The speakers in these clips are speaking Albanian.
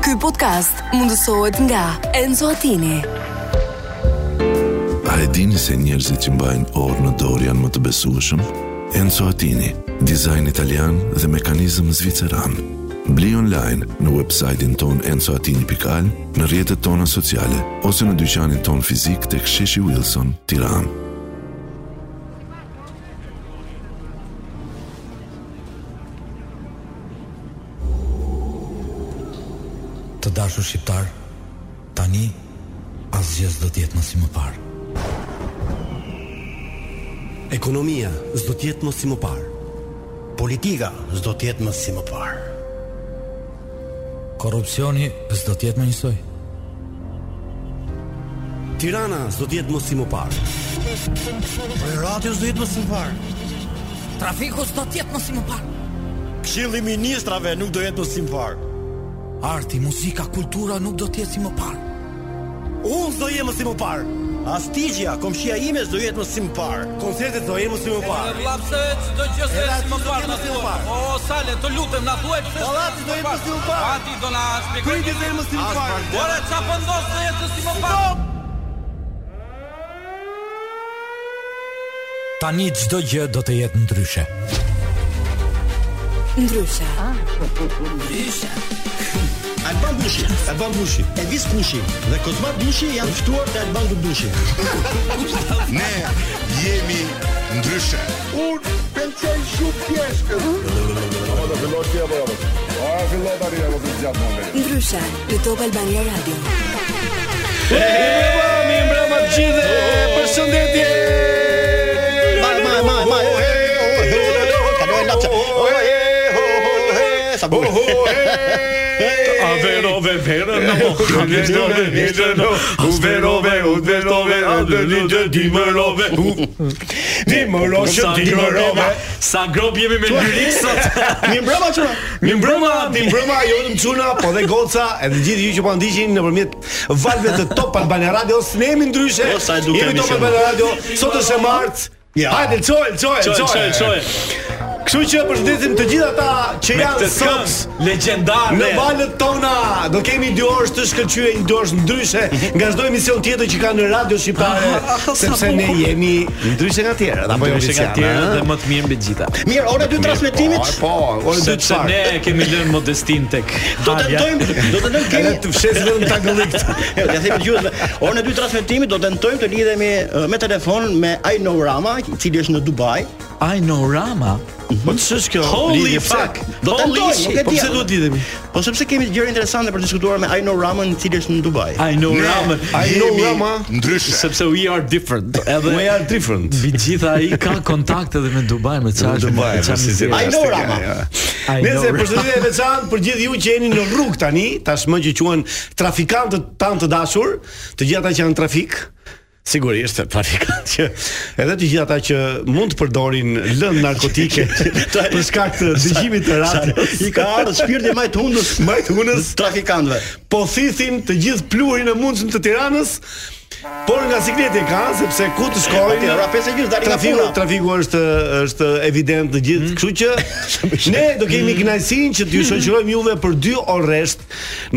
Ky podcast mundësohet nga Enzo Attini. A e dini se njerëzit që mbajnë orë në dorë janë më të besueshëm? Enzo Attini, dizajn italian dhe mekanizëm zviceran. Bli online në website-in ton enzoatini.al, në rjetët tona sociale, ose në dyqanin ton fizik të ksheshi Wilson, tiran. Të dashur shqiptar, tani asgjë s'do të jetë më si më parë. Ekonomia s'do të jetë më si më parë. Politika s'do të jetë më si më parë. Korrupsioni s'do të jetë më njësoj. Tirana s'do të jetë më si më parë. Radio s'do jetë më si më parë. Trafiku s'do të jetë më si më parë. Këshilli i ministrave nuk do jetë më si më parë. Arti, muzika, kultura nuk do të jetë si më parë. Unë s'do jem më si më parë. Astigja, komshia ime s'do jetë më si më parë. Koncertet do jenë më si më parë. Lapse çdo gjë se Era, më s'do parë t'jetë na më si më thuaj. parë. O sale, të lutem na thuaj pse. Pallati do jetë më si më parë. Pati do na shpjegoj. Kriti do jenë më si më parë. Ora çfarë po ndos se jetë si më parë? Tani çdo gjë do të jetë ndryshe. Ndryshe, Alban Bushi, Alban Bushi, Elvis Kushi dhe Kozma Bushi janë ftuar te Alban Bushi. Ne jemi ndryshe. Unë pëlqej shumë pjeshkë. Apo do filloj ti apo apo? A filloj tani apo të zgjat më mirë? ndryshe në Top Albania Radio. Mi mbrëmë të gjithë, përshëndetje. Ma ma ma ma. Kaloj lapsa. Sa bukur. A verove verën në mokë Vjetëve vjetën U verove, u verove A dhe një gjë dimërove Dimëroshe, dimërove Sa grob jemi me lyrik sot Mi mbrëmë çuna. Mi mbrëma jo Mi mbrëma ju vetëm çuna, po dhe goca, edhe gjithë ju që po ndiqin nëpërmjet valve të Top Albania Radio, ne jemi ndryshe. O, Jo, sa e dukemi Jemi Top shumë. Albania Radio, sot është e martë. Hajde, çoj, çoj, Qoj, qoj, çoj. qoj Kështu që përshëndesim të gjithë ata që Me janë këtë sot këngë Legendare Në valët tona do kemi dy orë të shkëlqyje, një dy orë ndryshe nga çdo emision tjetër që ka në radio shqiptare, sepse ne jemi ndryshe nga tjerët, apo jo Ndryshe nga Luciana, tjerë ëh? dhe më të mirë mbi të gjitha Mirë, ora 2 transmetimit. Po, ora 2 Sepse çfarë? ne kemi lënë modestin tek Do të tentojmë, do të tentojmë Edhe kemi. të fshes vetëm tangëllik. Ja themi dëgjuesve, orën e 2 transmetimit do të tentojmë të lidhemi eh, me telefon me Aino Rama, i cili është në Dubai. I know Rama Po ç'është kjo? Holy lidhje? fuck Do të Holy tentojmë, nuk e shit. di. Po pse duhet lidhemi? Po sepse kemi gjëra interesante për të diskutuar me Aino Ramën, i cili është në Dubai. I know Rama Ai no Jemi rama. Ndryshe. sepse we are different. Edhe Më janë different. Mbi gjitha ai ka kontakte edhe me Dubai, me çfarë? Dubai, me çfarë po, si mizeri. zero. Ai Asti në ka, Rama. Ai Nëse Nora. përshëndetje e veçantë për gjithë ju që jeni në rrugë tani, tashmë që quhen trafikantët tan të dashur, të gjithë ata që janë në trafik, sigurisht e trafikantë që edhe të gjithë ata që mund të përdorin lëndë narkotike për shkak të dëgjimit të radios. I ka ardhur shpirti më i të hundës, Më të hunës. trafikantëve. po thithin të gjithë pluhurin e mundshëm të Tiranës, por nga sikleti e ka, sepse ku të shkojnë Atje, ora 5 e gjysmë dalin nga trafiku, puna. trafiku është është evident të gjithë, kështu që ne do kemi kënaqësinë që t'ju shoqërojmë juve për dy orësht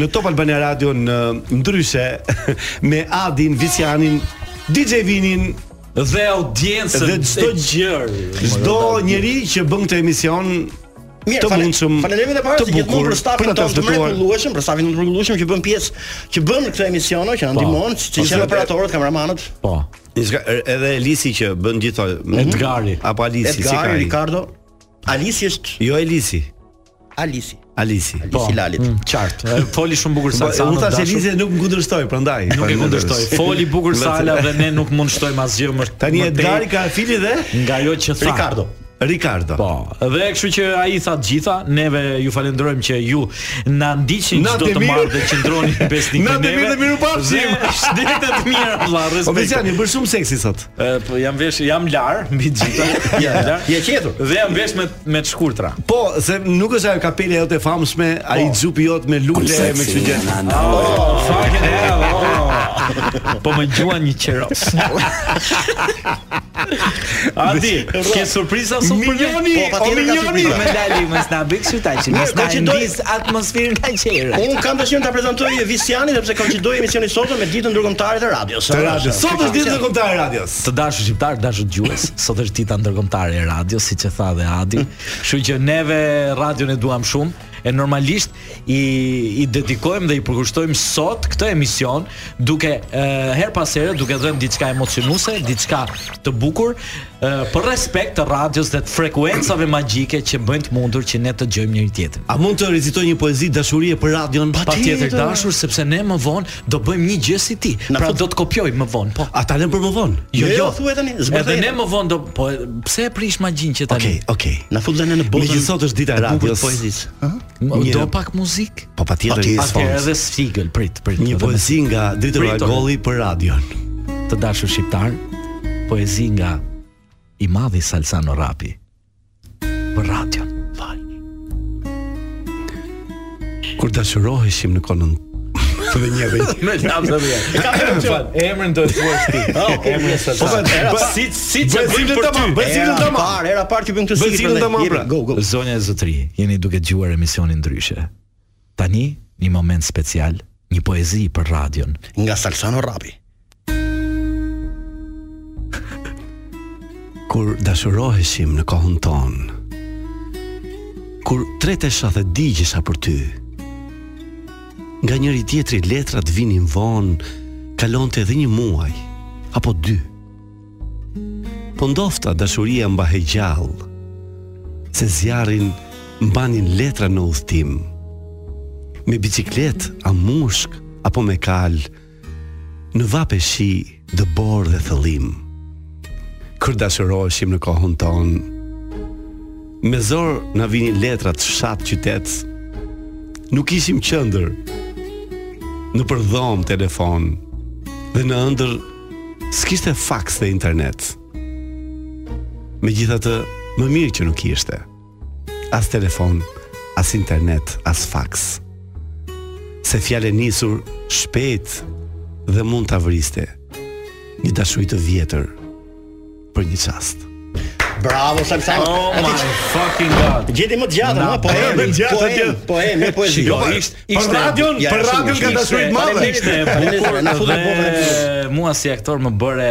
në Top Albania Radio në ndryshe me Adin Visjanin, DJ Vinin, Dhe audiencën Dhe çdo e gjër. çdo njeri që bën këtë emision Mirë, të fale- mundshëm, Faleminderit e parë të se gjithmonë bukur, për për stafin ata tonë të fletuar. mrekullueshëm, për stafin tonë të mrekullueshëm që bën pjesë, që bën këtë emision, që Po. na ndihmon, që janë operatorët, kameramanët, Po. Diçka edhe Elisi që bën gjithë Edgari. apo Alisi, si ka Edgar, ai? Ricardo, Alisi është Jo Elisi, Alisi. Alisi. Po. Lalit. Mm. Qartë. E Foli shumë bukur Po, Salsa. unë thash Elize nuk më kundërshtoj, prandaj. nuk e kundërshtoj. Foli bukur Sala dhe ne nuk mund shtojmë asgjë më Tani më tej Edgari ka afili dhe nga ajo që tha. Ricardo. Ricardo. Po, dhe kështu që ai tha të gjitha, neve ju falenderojmë që ju na ndiqni Natë çdo e të mirë. marrë dhe qëndroni besnik me Natë e neve. mirë dhe mirupafshim. Dhe Shtete të mira, valla, Po respekt. Vizjani, bën shumë seksi sot. E, po jam vesh, jam lar mbi të gjitha. Jam lar. Je qetur. Dhe jam vesh me me të shkurtra. Po, se nuk është ajo kapela jote Po. Po, e famshme, ai xhupi jot me lule me kështu gjë. Fucking hell. oh. po më gjuan një qeros. Adi, ke surpriza sot për ne? Milioni, Po, patjetër o ka milioni. surpriza. Më dali mos na bëj kështu tash, mos ka na që doj- ndis atmosferën nga qera. Unë kam dëshirën ta prezantoj Visianin sepse koncidoj emisionin sotëm me ditën ndërkombëtare të radios. Të Radio. Sot është ditë e kombëtare e radios. Të dashur shqiptar, dashur dëgjues, sot është dita ndërkombëtare e radios, siç e tha dhe Adi. Kështu që neve radion e duam shumë e normalisht i i dedikojmë dhe i përkushtojmë sot këtë emision duke e, her pas here duke dhënë diçka emocionuese, diçka të bukur e, për respekt të radios dhe të frekuencave magjike që bëjnë të mundur që ne të dëgjojmë njëri tjetrin. A mund të recitoj një poezi dashurie për radion? Pa tjetër dashur sepse ne më vonë do bëjmë një gjë si ti. Na Pra fut- do të kopjoj më vonë, po. A ta lëm për më vonë? Jo, Jo, jo. thuaj tani, zbërthej. Edhe ne më vonë do po e- pse e prish magjin që tani? Okej, okej. Na fut dhe ne në botën. Megjithëse sot është dita Po, e e bukur të radios. poezisë. M- Mirë. Po, Do pak muzikë. Po patjetër i Atëherë sfons. edhe sfigël, prit, prit. Një edhe poezi nga Dritë Pritur. Ragolli për radion. me- të dashur shqiptar, poezi nga i madhi Salsano Rapi. Për radion. Vaj. Kur dashuroheshim në konën dhe një dhe një. Me lavë dhe vjen. Emrin do të thuash ti. Emrin Salsano. Po Si si që bëj siglën për ty? tamam, bëj siglën Era tamam. parë, era parë që bën këtë Bëj sikë. siglën tamam, pra. Go, go. Zonja e Zotri, jeni duke dëgjuar emisionin ndryshe. Tani, një moment special, një poezi për radion. Nga Salsano Rapi. Kur dashuroheshim në kohën tonë. Kur tretesha dhe digjesha për ty. Nga njëri tjetri letrat vinin vonë, kalonte edhe një muaj apo dy. Po ndofta dashuria mbahej gjallë. Se zjarrin mbanin letra në udhtim. Me biciklet, a mushk apo me kal, në vape shi, dëbor dhe thëllim kër dashuroheshim në kohën tonë. Me zor na vinin letrat fshat qytet. Nuk ishim qëndër. Në përdhom telefon dhe në ëndër s'kishte faks dhe internet. Megjithatë, më mirë që nuk ishte. As telefon, as internet, as faks. Se fjale nisur shpejt dhe mund ta vriste. Një dashuri të vjetër për një çast. Bravo Salsano. Oh Ati my që- fucking god. Gjeti më të gjata, ha, po e, më e, të gjatë po atje. e, po e, me poezi. Shiko, Po, ishte Për ishte radion, ja, për shumë, radion ka ishte- dashuri të madhe. Ishte e bukur Na futën botën e dhe fytyrës. mua Mua si aktor më bëre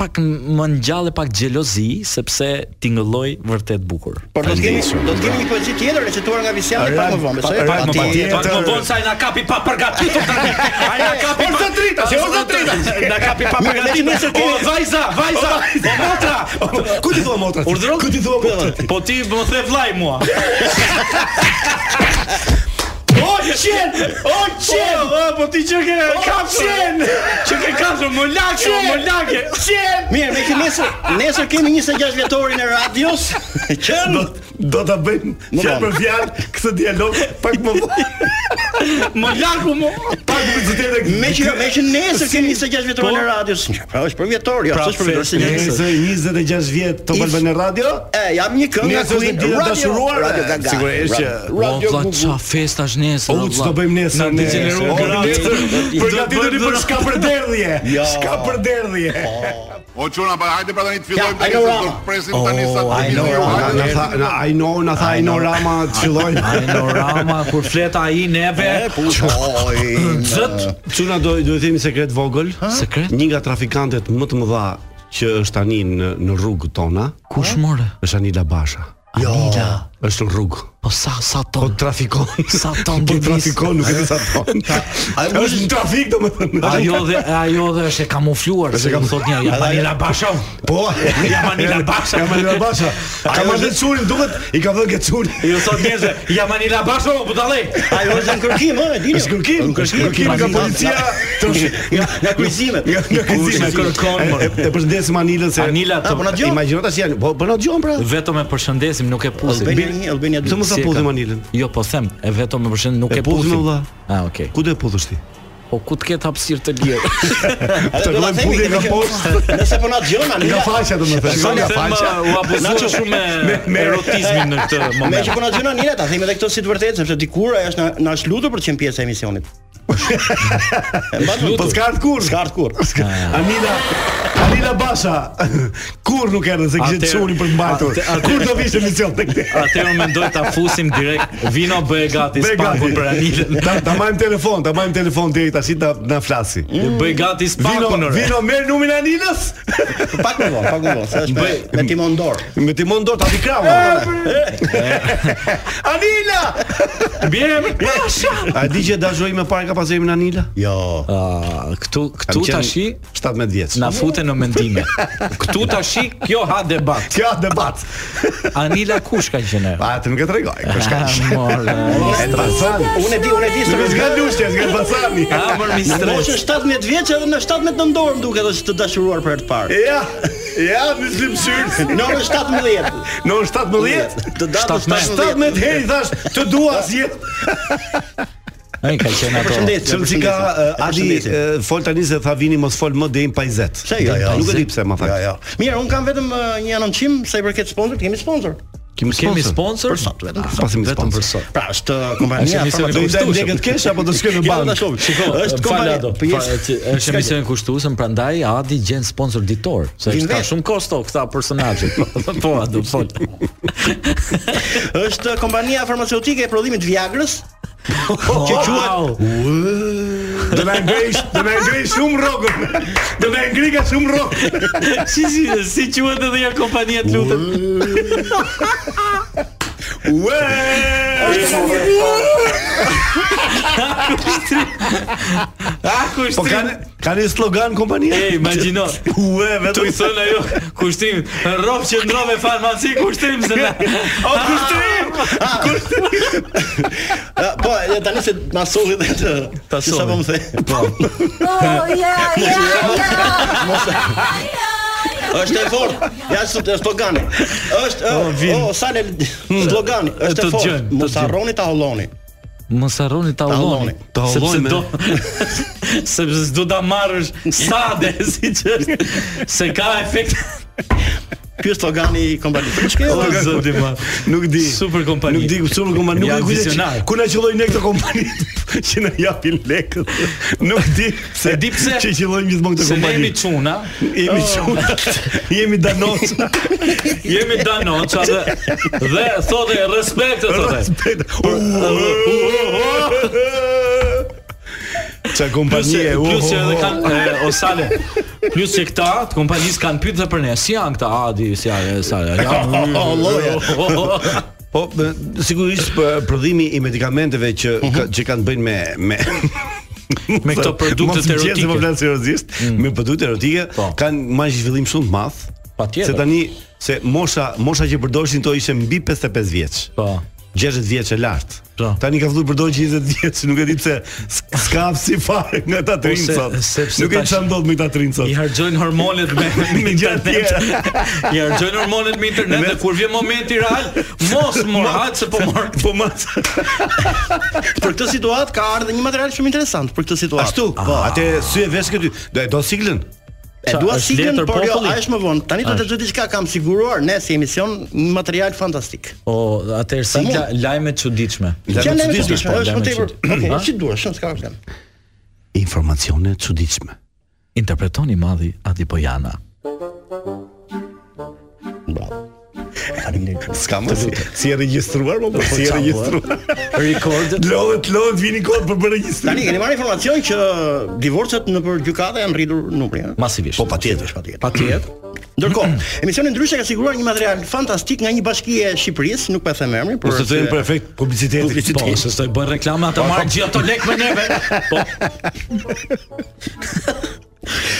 pak më ngjallë pak xhelozi sepse tingëlloj vërtet bukur. Por do të kemi do të kemi një poezi tjetër recituar nga Visiani pak më vonë, besoj. pak më Ati- patjetër. Pak më vonë sa i na kapi pa përgatitur tani. Ai na kapi Orza drita, si orza drita. Na kapi pa përgatitur. O vajza, vajza, Oh, o motra. Ku ti thua motra? Urdhëron? Ku ti thua motra? Po ti më the vllai mua. O qen, o qen. Po ti që ke kapshen. Që ke kafshë, më lagje, më lagje. Mirë, ne kemi nesër, nesër kemi 26 vjetorin e radios. Qen. Do do ta bëjmë Më fjalë vonë. për fjalë këtë dialog pak më vonë. Më lagu mu. Pak më zëtet Me që me që nesër kemi 26 vjetorin e radios. Ja, Pra është për vjetor, jo, Pra, s'është për vjetor se nesër. Nëse 26 vjet Top If- Albana Radio, E, jam një këngë nga Nesër është Queen ditë e Radio- dashuruar, Radio Gaga. sigurisht që- Radio- O vlla ça festa është nesër. o ç'do bëjmë nesër Ne ne. O, nesër përgatituni për shka për derdhje. Jo. Shka për derdhje. O çuna, pa hajde pra tani të fillojmë Ja, tani Ajno se do Rama. presim tani sa të Ajno fillojmë. Rama, Hajde. Na tha, na ai no, na tha ai no Rama, të fillojmë. Panorama kur flet ai neve. E, po, oj. Zot, Çuna do do i themi sekret vogël. Sekret? Një nga trafikantet më të mëdha që është tani në në rrugët tona kush more? është Anila Basha. Anila. Është në rrugë. Po sa sa Po ton. trafikon. Sa ton Po Denis? trafikon, nuk e di sa ton. Është në trafik domethënë. Ajo jo dhe ajo dhe është e kamufluar, se kam thot një Manila Basha. Po, Ja Manila Basha. Ja Manila Basha. Ka marrë çurin duket, i ka vënë çurin. Jo, Ju thot njerëzve, ja Manila Basho, po dallej. Ajo është në kërkim, ë, e dini. Është kërkim, është kërkim nga policia. Nga nga kryqëzimet. Nga nga kërkimi kërkon, mor? E- e- E përshëndesim Anilën se Anila Ah, po na të dëgjon. Imagjino tash janë, po po na dëgjon pra. Vetëm e përshëndesim, nuk e pusim. Albania 1, Albania 2. Pse mos ta Si e pudhim ka? Anilën? Jo, po them, e vetëm e përshëndesim, nuk E e, puthim, pusim. vëlla. Ah, okay. Ku do e pudhësh ti? Po ku të ketë hapësirë të lirë? Atë do ta Tërlojmë themi puthje kemi nga që- poshtë. Nëse po na dëgjon ani. Nga faqja domethënë. Shikon nga nga faqja. U abuzuar shumë me, me erotizmin në këtë Me moment. që po na dëgjon Anina, ta themi edhe këtë si të vërtetë, sepse dikur ajo është na na është lutur për të qenë pjesë e emisionit. Po s'ka ardhë kur. S'ka ardhë kur. Anila, Anila Basha, kur nuk erdhe se kishte Atëherë- çurin për të mbajtur. atë- atëherë- Kur do vishte emision tek ne? Atëherë mendoj ta fusim direkt vino bëhe gati spakun për Anilën. Ta, ta majm telefon, ta majm telefon deri tash ta na flasi. Bëj gati spakun. Vino, ore. vino merr numrin e Anilës Pak më vonë, pak më vonë, se është me, Bëj- me timon dorë. me timon do ta di krahun. Eh? Anila! Bjem. A di që dashuri më parë ka pas emrin Anila? Jo. Ah, këtu Kam këtu qenë tashi 17 vjeç. na futen në mendime. Këtu tashi kjo ha debat. Kjo është debat. Anila kush ka qenë? Ah, Pa, të nuk e tregoj. Kush ka? Mor. E pasani. Unë e di, unë e di se Nuk e zgjat lushje, zgjat pasani. A mor mi Në moshën stres. 17 vjeç edhe në 17 nëndor më duket është të dashuruar për herë të parë. Ja, ja, në slimsyrë. Në orën 17. Në orën 17. Të datës 17. 17 herë i thash, të dua asgjë. Ai ka qenë ato. Përshëndetje. Çon si ka përshëndetje, eh, Adi përshëndetje. eh, fol tani se tha vini mos fol më deri në 50. Pse jo, jo. Nuk e di pse ma Jo, tha. jo. Mirë, un kam vetëm eh, një anoncim sa i përket sponsorit, kemi sponsor. Kemi Kemi sponsor? Për sot, vetëm për sot. Pasim Vetëm për sponsor. sot. Pra, është eh, kompania Është emisioni Do i farmaceutike. dal lekët kesh apo do shkojmë në Ja, ta bank? shohim. Shiko, është Është kompania. kompania. Po jes- Është emision kushtuesëm, prandaj Adi gjen sponsor ditor, se Vin është ka vetë. shumë kosto këta personazhe. Po, a do fol. Është eh, kompania farmaceutike e prodhimit Viagrës, që quhet Do na ngrej, do na ngrej shumë rrogën. Do na ngri ka shumë rrogën. Si si si quhet edhe ja kompania të lutem. Ue! A kush Po kanë kanë një slogan kompania? E, imagjino. Ue, Tu vetëm i thon ajo kushtim, rrop që ndrove farmaci kushtim se na. O kushtrim! Eh, po, e tani se na solli dhe të Ta se Sa solli. po më the. Po. Është e fortë. Ja sot është slogani. Është eh, oh, sa le slogani, është Hmm. Të e fortë. dëgjojmë, të Mos dëgjojmë. harroni ta holloni. Mos harroni ta ulloni. ulloni. Ta ulloj me- do sepse s'do ta marrësh sade si që është se ka efekt. Ky është slogani i kompanisë. Për çka? O zoti ma. Nuk di. Super kompani. Nuk di super kompani. Nuk Ja, di kujtë vizionar. që- ku na qelloi ne këto kompani që na japin lekët. Nuk di pse E di pse. që qellojmë gjithmonë këto Se ne kompani. jemi Oh. çuna, jemi çuna. jemi danoca. jemi danoca dhe dhe thotë respekt thotë. Respekt. Qa Plus kompanie, që- u, plus që u, edhe u. kanë e, osale. Plus që këta të kompanisë kanë pyetur për ne, si janë këta Adi, si janë, si janë. Oh, Alloja. Po, bë- sigurisht për prodhimi i medikamenteve që ka, që kanë të bëjnë me me Me këto produkte Mos më qenë se Po erotike. flas seriozisht, me produkte erotike Po. kanë marrë zhvillim shumë të madh. Patjetër. Se tani se mosha mosha që përdorshin to ishte mbi 55 vjeç. Po. 60 vjeç e lart. Po. Tani ka filluar përdorin 20 vjeç, nuk e di pse s- s'ka si fare nga ta trinë Po, se- sot. sepse Nuk e di tash- çfarë ndodh me ta trinë sot. I harxojnë hormonet me, me Me gjëra internet. I harxojnë hormonet me internet dhe kur vjen momenti real, mos mor hajt se po mor. Po më Për këtë situatë ka ardhur një material shumë interesant për këtë situatë. ashtu. Ah, Po, atë sy e vesh këty. Do e do siglën. E Qa, dua është sikën, letër por jo, populli? a është më vonë. Tani do të të diçka kam siguruar ne si emision një material fantastik. O, atëherë si mund? la, lajme të çuditshme. Lajme Që ne me të çuditshme, të është lajme më tepër. të Okej, çuditshme. si duash, s'ka problem. Informacione të çuditshme. Interpretoni madhi Adi Bojana. Bravo. Faleminderit. S'ka më si, si e regjistruar, po si e regjistruar. Recorded Lodhet, lodhet, vini kod për për regjistrim. Tani keni marrë informacion që divorcet nëpër gjykata janë rritur numri, ëh? masivisht. Po patjetër, patjetër. patjetër. Ndërkohë, emisioni ndryshe ka siguruar një material fantastik nga një bashki e Shqipërisë, nuk po e them emrin, por Ose të jenë për efekt publicitetit. Po, se s'do i bën reklama ata marrin gjithë ato lekë me neve. Po.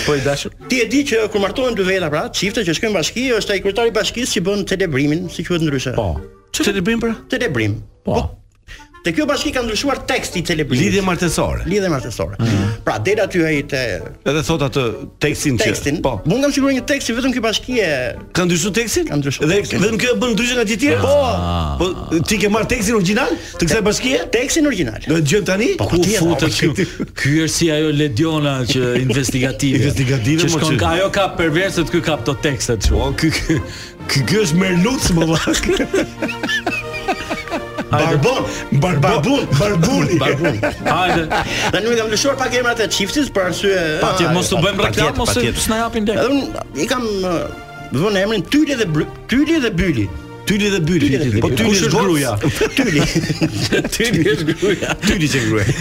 Po i dashur. Ti e di që kur martohen dy veta pra, çifte që shkojnë në bashki, është ai kryetari i bashkisë që bën celebrimin, si quhet ndryshe. Po. Çfarë të bëjmë pra? Celebrim. Po. Te kjo bashki ka ndryshuar teksti i celebrimit. Lidhje martesore. lidhe martesore. Pra del aty ai te Edhe thot atë tekstin që. tekstin. Po. Unë kam siguruar një tekst që vetëm ky bashki e Ka ndryshuar tekstin? Ka ndryshuar Dhe tekstin. vetëm kjo e bën ndryshe nga gjithë tjerë? Ah. Po. Po ti ke marr tekstin origjinal të kësaj bashkie? tekstin origjinal. Do e dëgjojmë tani? Po, Ku Tjetër, futet po, ky? Ky është si ajo Lediona që investigative. Investigative, që mo, shkon që- ka ajo ka perverset, ky ka ato tekste kështu. Po ky ky ky- ky është merluc më vllak. Barbon, barbon, barbuni. Barbun. Hajde. Ne nuk i kam lëshuar pak emrat e çiftit për arsye Patje, Ah, mos të bëjmë patjetër, reklam, mos patjetër. të s'na japin lek. Edhe unë i kam eh, vënë emrin Tyli dhe Bry- Tyli dhe Byli. Tyli dhe byli. Tyli dhe Byli. Po tyli Kush është është gruaja. Tyli. Tyli është gruaja. Tyli që gruaj.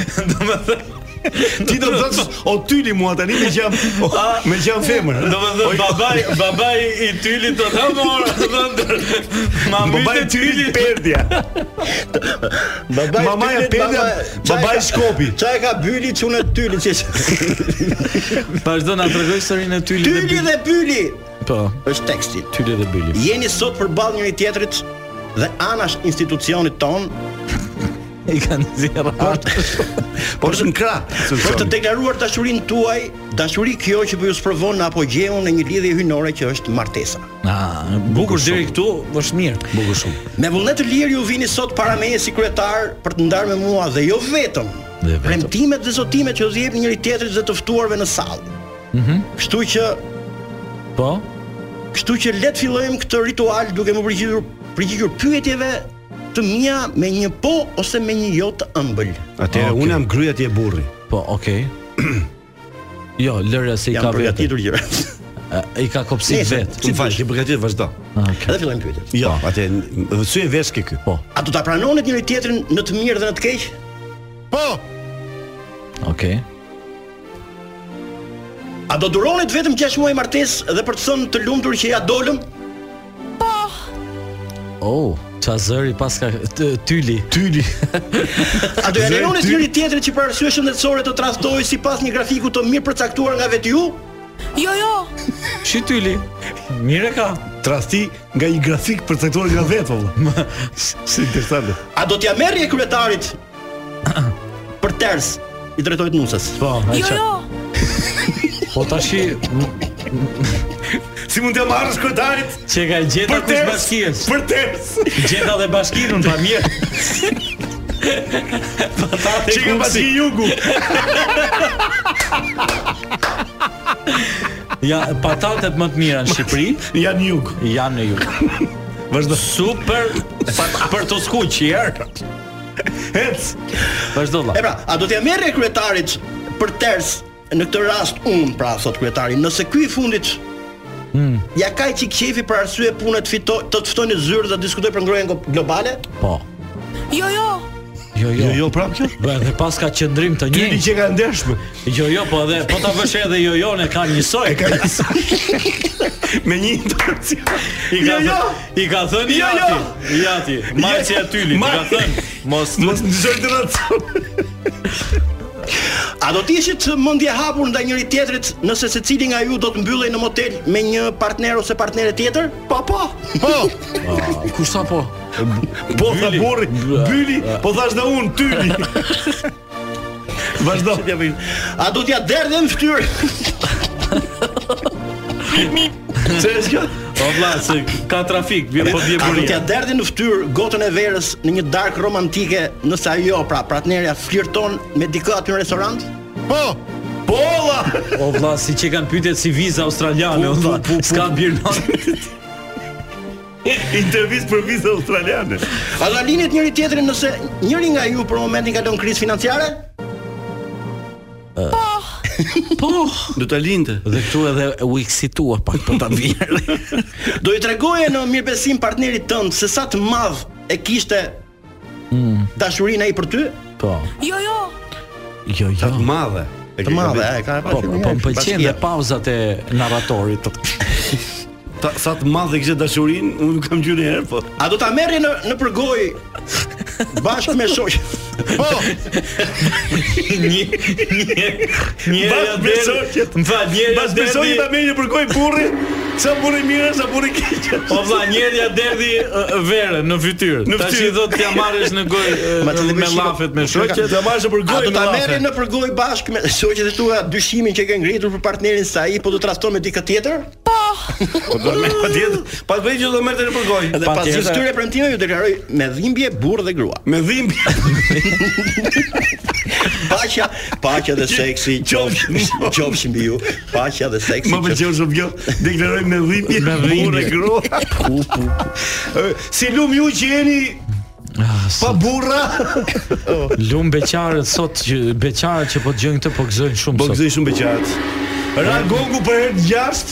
Ti do të thosh, o tyli mua tani me që jam o, me që jam femër. Do të thënë babai, babai i tylit do të morë, do të thënë ma Babai mbytë tylit. tyli perdja. Babai Mamaja Tylit, Penda, baba- çaj babai ka- Shkopi. Çaj ka Byli çunë Tyli që. Vazhdo na tregoj historinë e Tyli dhe Tyli Byli. dhe Byli Po, është teksti. Tyli dhe Byli. Jeni sot përballë njëri tjetrit dhe anash institucionit ton I kanë zjerë Po është në krah. për të deklaruar dashurinë tuaj, dashuri kjo që po ju sprovon në apogjeun e një lidhje hynore që është martesa. Ah, bukur deri këtu, është mirë. Bukur shumë. Me vullnet të lirë ju vini sot para meje si kryetar për të ndarë me mua dhe jo vetëm. Dhe vetëm. Premtimet dhe zotimet që ju jepni njëri tjetrit dhe të ftuarve në sallë. Mhm. Kështu që, Po, kështu që le të fillojmë këtë ritual duke më përgjigjur përgjigjur pyetjeve të mia me një po ose me një jo të ëmbël. Atëherë Okay. unë jam gruaja ti e burri. po, okay. Jo, lërja se i Jam ka vetë. përgatitur gjëra. I ka kopsit Nese. vetë. Ti fal, ti përgatit vazhdo. Edhe fillojmë pyetjet. Jo, atë sy e veshki ky. Po, A do ta pranonit njëri tjetrin në të mirë dhe në të keq? Po, okay. A do duronit vetëm 6 muaj martesë dhe për të thënë të lumtur që ja dolëm? Oh, qa zëri pas ka t- tyli. Tyli. A do ja Zë, lejonit ty- njëri tjetrin që për arsye shëndetësore të tradhtojë sipas një grafiku të mirë përcaktuar nga vetë ju? Jo, jo. Shi tyli. Mire ka. Trasti nga një grafik përcaktuar nga vetë valla. Si interesante. A do t'ja merrje kryetarit për ters i drejtohet nusës? Po, Jo, ai qa- jo. Po tash Si mund të marrësh kryetarit që ka gjeta për kush ters? bashkies. Për ters. Gjeta dhe bashkinun pa mirë. Patate kupsi. Çika bashki jugu. Ja, patatet më të mira në Shqipëri Janë jug. janë në jug. Vazhdo. Super pa- për të skuq i erë. Ec. Vazhdo vlla. E pra, a do t'ja merrje kryetarit për ters në këtë rast unë, pra thot kryetari, nëse ky i fundit Ja ka i qik qefi për arsye punë të fitoj, të të ftoj në zyrë dhe diskutoj për ngrojen go- globale? Po. Jo, jo. Jo, jo. Jo, jo, prapë kjo. Bë, edhe pas ka qëndrim të Tyli njëjtë. që ka ndershme Jo, jo, po edhe po ta vësh edhe jo, jo, ne ka njësoj. E ka me një intonacion. I ka Jo, jo. thënë, i ka thënë Jo, jo. jati, jati, marci Jo. atyli, i ka Marci. thënë, mos Mos ndryshoj intonacion. A do të ishit mendje hapur ndaj njëri tjetrit nëse secili nga ju do të mbyllej në motel me një partner ose partnere tjetër? Po, po. Po, kush sa po? po tha Byli. burri, byli, po thash dhe unë tyli. Vazhdo. A do t'ja derdhe në fytyrë? Se është kjo? O vlla, se ka trafik, vjen po vjen A do t'ja buria. derdhe në fytyrë gotën e verës në një darkë romantike nëse ajo, pra partnerja flirton me dikë aty në restorant? po, Polla. O vlla, si që kanë pyetje si viza australiane, o vlla, s'ka birnon. Intervistë për vizë australiane. A do linit njëri tjetrin nëse njëri nga ju për momentin kalon krizë financiare? Do ta linte. Dhe këtu edhe u eksitua pak për ta vjerë. Do i tregoje në mirëbesim partnerit tënd se sa të madh e kishte dashurinë ai për ty? Po. Jo, jo. Jo, jo. Të madhe. E Të ke madhe, gabim. e ka e Po, po më pëlqen dhe pauzat e narratorit. Ta- Sa të madhe kishte dashurinë, unë nuk kam gjyrë një herë, po. A do ta merrje në në përgoj bashkë me shoq? po, Një një një Bas besoj. Më fal, njëra Pas besoj derdi. ta merrje për gojë burri. Sa burri mirë, sa burri keq. Po vlla, njëra derdi ë, verë në fytyrë. Në Tash i fytyrë. thot t'ja marrësh në gojë Ma të ë, me lëvish- llafet me shoqet. Ta marrësh A për gojë. do ta me merrje lafe. në përgoj bashkë me shoqet e tua dyshimin që ke ngritur për partnerin se ai po do trafton me dikë tjetër? Po do merr patjetër. Pas bëj që do merrte në për gojë. Dhe Pa pas tjetër. gjithë këtyre premtimeve ju deklaroj me dhimbje burr dhe grua. Me dhimb. Paqja, paqja dhe seksi, qofsh qofsh mbi ju. Paqja dhe seksi. Më pëlqeu shumë kjo. Deklaroj me dhimbje. Me dhimbje. Burrë grua. Si lum ju që jeni Ah, pa burra. Lum beqarët sot që beqarët që po dëgjojnë këtë po gëzojnë shumë Po sot. gëzoj shumë beqat. Ra Gogu për herë të gjashtë,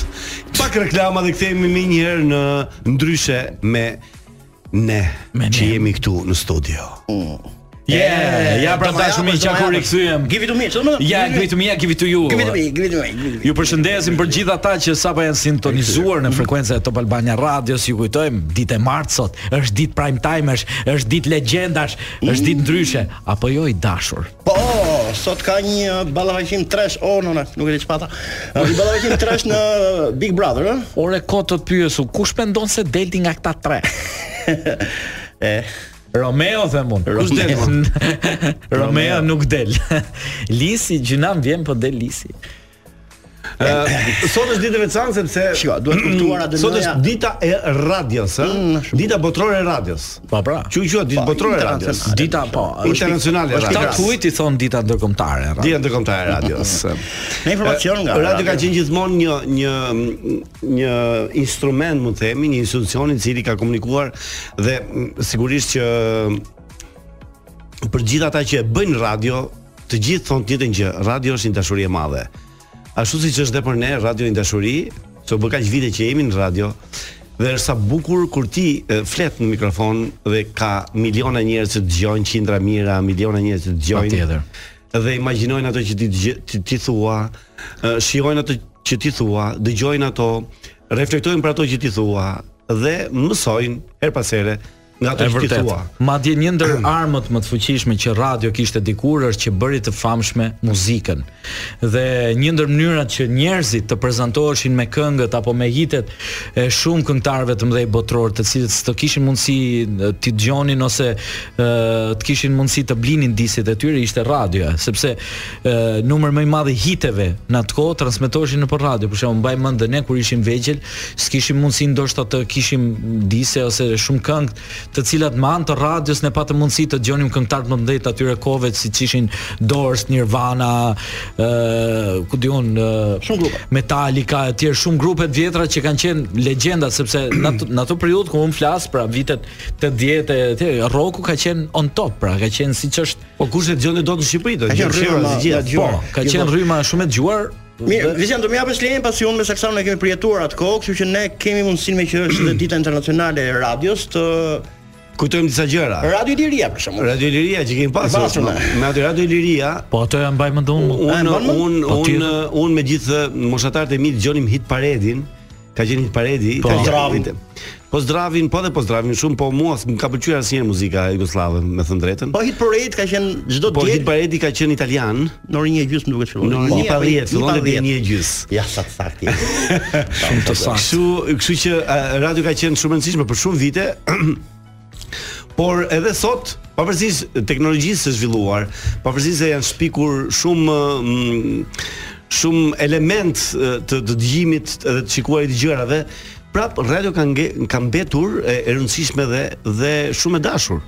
pak reklama dhe kthehemi më një herë në ndryshe me ne, Me që ne. jemi këtu në studio. Yeah, ja pra Do ma dashur japësh, miq, do ja ma kur japësh. rikthyem. Give it to me, çfarë më? Ja, give it to me, ja, give it to you. Give it to me, give it to me. give it to me. Ju përshëndesim për gjithë ata që sapo janë sintonizuar në frekuencën e Top Albania Radios. Ju kujtojmë, ditë e martë sot është ditë prime timesh, është ditë legjendash, është ditë ndryshe, apo jo i dashur. Po, sot ka një ballavaqim trash, oh nona, nuk e di çfarë. ata. Një ballavaqim trash në Big Brother, ëh? Ore kot të pyesu, kush mendon se delti nga këta tre? E, Romeo them unë. Kush del, mo? Romeo nuk del. Lisi gjynam vjen, po del Lisi. Ë, sot është ditë e veçantë sepse Shiko, duhet kuptuar atë Sot dënoja. është dita e radios, ë? Dita botërore e radios. Po pra. Që quhet ditë Po, botërore e radios. internacionale. Dita po, Internacionale e është Ta radios. Kras. kujt i thon dita ndërkombëtare? ra? Dita ndërkombëtare e radios. Në informacion Mm. Po, nga Radio ka qenë gjithmonë një një një instrument, mund të themi, një institucion i cili ka komunikuar dhe mm, sigurisht që për gjithë ata që e bëjnë radio, të gjithë thonë të njëjtën gjë, radio është një dashuri e madhe. Ashtu siç është dhe për ne, radio një dashuri, që bë kaq vite që jemi në radio, dhe është sa bukur kur ti e, flet në mikrofon dhe ka miliona njerëz që dëgjojnë, qindra mira, miliona njerëz që dëgjojnë. Patjetër. Dhe imagjinojnë ato që ti dëgj- ti, ti thua, e, shijojnë ato që ti thua, dëgjojnë ato, reflektojnë për ato që ti thua dhe mësojnë her pas here nga ato E që ti vërtet. thua. Madje një ndër armët më të fuqishme që radio kishte dikur është që bëri të famshme muzikën. Dhe një ndër mënyrat që njerëzit të prezantoheshin me këngët apo me hitet e shumë këngëtarëve të mëdhenj botror, të cilët s'të kishin mundësi e, t'i dëgjonin ose e, të kishin mundësi të blinin disit e tyre ishte radioja, sepse e, numër më i madh i hiteve në atë kohë transmetoheshin nëpër radio. Për shembull, mbaj mend ne kur ishim vegjël, s'kishim mundësi ndoshta të kishim dise ose shumë këngë të cilat me anë të radios ne patëm mundësi të dëgjonim këngëtar të mëdhenj të atyre kohëve siç ishin Doors, Nirvana, ë ku diun Shumë grupe. Metallica, e tjerë shumë grupe të vjetra që kanë qenë legjenda sepse në atë- në atë periudhë ku un flas pra vitet 80 e tjerë, rocku ka qenë on top, pra ka qenë siç është Po kush e dëgjonte dot në Shqipëri do Ka qenë dëgjojë rrymë rrë nga- nga gjithë. dëgjuar. Po, ka Gjithmonë. qenë rryma shumë e dëgjuar. Mirë, Vizian, do më japësh lejen pasi unë me Saksan e kemi përjetuar atë kohë, kështu që ne kemi mundësinë me që është dhe dita internacionale e radios të Po, kujtojmë disa gjëra. Radio Iliria për shembull. Radio Liria që kemi pasur. Pasur, me- ne. Me atë Radio Liria Po ato ja mbaj mendon. unë. mban Un më? un Po, un tjetër. un me gjithë moshatarët e mi dëgjonim hit paredin. Ka qenë hit paredi, ka qenë- Pozdravin. Po zdravin, po dhe po zdravin shumë, po mua s'm ka pëlqyer asnjëherë muzika jugoslave, me thënë drejtën. Po hit parade ka qenë çdo Po hit ditë paredi ka qenë italian, në orën 1 gjysmë duhet fillon. në orën 1 pa 10, fillon dhe 1 gjys. Ja sa të saktë. je. Shumë të saktë. Kështu, kështu që a, radio ka qenë shumë e rëndësishme për shumë vite. Por edhe sot, pavarësisht teknologjisë së zhvilluar, pavarësisht se janë shpikur shumë mm, shumë element e, të të dëgjimit edhe të shikuarit të gjërave, prap radio ka nge, ka mbetur e, e rëndësishme dhe dhe shumë e dashur.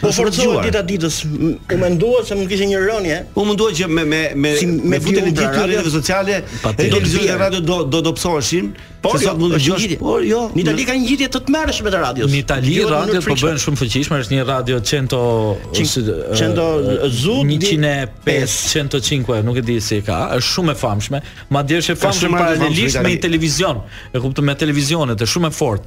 Po Është shumë e forcohet dëgjuar. dita ditës. M- U mendua se më kishte një rënje. Unë mendoj që me me me Si me me futjen e viola, gjithë këtyre radio- rrjeteve sociale, Pa e tjetër. televizioni dhe radio do do dobësoheshin, Por se jo, sot mund të është një dëgjosh, gjitje. por jo. Në Itali ka një gjitje të tmerrshme të radios. Në Itali Dëgjohet në mënyrë radiot po frikshme. bëhen shumë fuqishme, është një radio 100 Cin- 100 zut, 105, 105, nuk e di si e ka, është shumë e famshme, madje është e famshme shumë radio paralelisht famshme me në një Itali. televizion. E kupton me televizionet, është shumë e fortë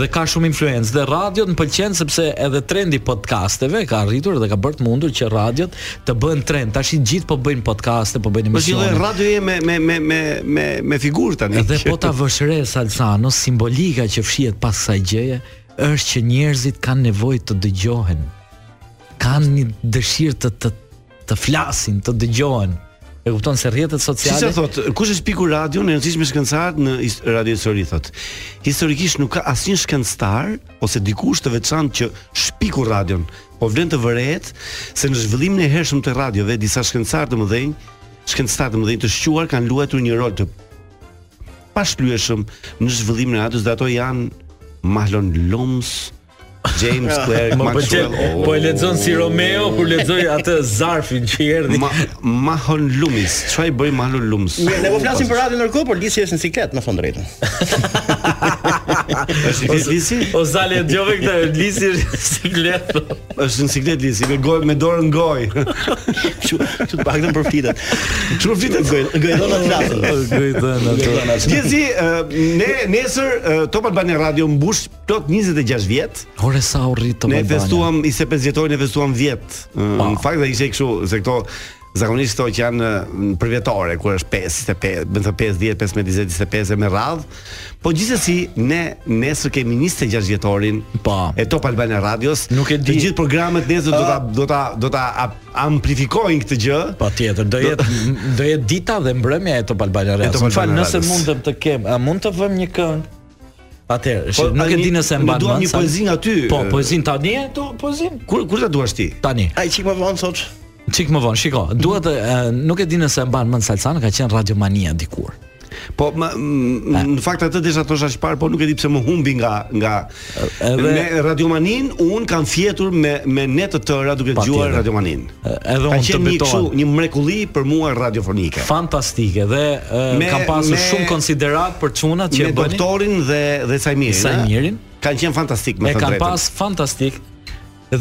dhe ka shumë influencë dhe radiot më pëlqen sepse edhe trendi i podcasteve ka arritur dhe ka bërë të mundur që radiot të bëhen trend. Tash i gjithë po bëjnë podcaste, po bëjnë Po si lloj emisione. radioje me me me me me me figurë tani. Edhe po ta vësh re Salsano, simbolika që fshihet pas kësaj gjëje është që njerëzit kanë nevojë të dëgjohen. Kanë një dëshirë të të të flasin, të dëgjohen. E kupton se rrjetet Si sociale sa thot, kush e shpiku radio në rëndësishme shkencëtarët në his- radio histori thot. Historikisht nuk ka asnjë shkencëtar ose dikush të veçantë që shpiku radion. Po vlen të vërehet se në zhvillimin e hershëm të radiove disa shkencëtarë të mëdhenj, shkencëtarë të mëdhenj të shquar kanë luajtur një rol të pashlyeshëm në zhvillimin e radios dhe ato janë Marlon Looms, James Clerk, Më Maxwell. pëlqen, po e lexon si Romeo kur lexoi atë zarfin që i erdhi. Ma, Mahon Lumis, çfarë i bëri Mahon Loomis? Mirë, ne po flasim për radio ndërkohë, por Lisi është në siklet, më thon drejtën. Është Lisi? O zale djove këtë Lisi është siklet. Është në siklet Lisi, me gojë me dorën në gojë. Kështu, kështu të paktën përfitet. Çu vitet gojë? Gëjdona flasën. Gëjdona. Gjithsesi, ë, ne nesër ë, Top Albania Radio mbush plot 26 vjet. Ore sa u rrit të Ne Albania. festuam i se 5 vjetorin e festuam 10. Në fakt dhe ishte kështu se këto zakonisht këto që janë ë, për vjetore kur është 5, 25, bën të 5, 10, 15, 20, 25 e me radh. Po gjithsesi ne nesër kemi 26 vjetorin Pa. e Top Albania Radios. Nuk e di. Të gjithë programet nesër do ta do ta do ta ap- amplifikojnë këtë gjë. Patjetër, do jetë do jetë dita dhe mbrëmja e Top Albania E Radios. Top Më fal, Albania nëse Radios. mundem të kem, a mund të vëmë një këngë? Atëherë, shi- nuk e Po, tani, di nëse e unë mban. dua mend, një sa- poezi nga ty. Po, poezin tani e do poezin. Kur kur ta duash ti? Tani. Ai çik më vonë thotë, Çik më vonë, shiko, duhet e, nuk e di nëse e mban mend Salsana ka qenë Radiomania dikur. Po më, m- në fakt atë desha thosha që parë, po nuk e di pse më humbi nga nga Edhe- me Radiomanin, un kam fjetur me me ne të tëra duke dëgjuar Patjetër. Radiomanin. E, edhe Ka unë të qenë betohem. një kështu një mrekulli për mua radiofonike. Fantastike dhe Me- me, kam pasur me- shumë konsiderat për çunat që me e bënin. doktorin dhe dhe Sajmirin. Sajmirin. a? Kanë qenë fantastik me E të kam drejtën. pas fantastik.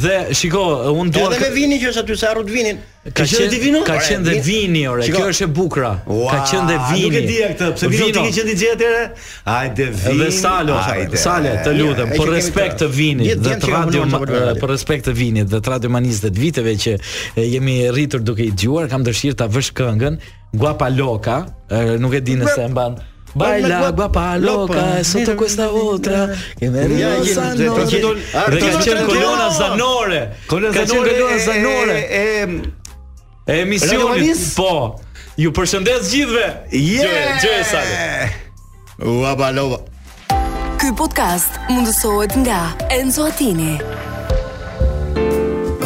Dhe shiko, unë dua edhe me kë- vini që është aty se harrut vinin. Ka qenë qenë ti vino? Ka Ore, qenë dhe vin- vini, ore. Shiko. Kjo është e bukura. Ka Ua, qenë dhe vini. Nuk e dija këtë, pse vino ti ke qenë DJ atëre? Hajde vini. Dhe Salo, hajde. Sale, të lutem, e që për kemi respekt të- të vinit Jetë dhe djemë të që jam radio, unë ma- që bëjmë radio. për respekt të vinit dhe të radio manisë dhe të viteve që e, jemi rritur duke i dëgjuar, kam dëshirë ta vësh këngën Guapa Loka, e, nuk e di nëse e mban. Baila guap- guapa lopa, loca, e sotto questa otra, che me Ja, jemi- rosa të- no. të- të- Dhe ka qenë kolona zanore. Kolona Ka qenë zanore kolona e- zanore. E, E emisionit, Radiomanis? po. Ju përshëndes gjithve. e Gjë, yeah! gjë e sale. Ua balova. Ky podcast mundësohet nga Enzo Attini.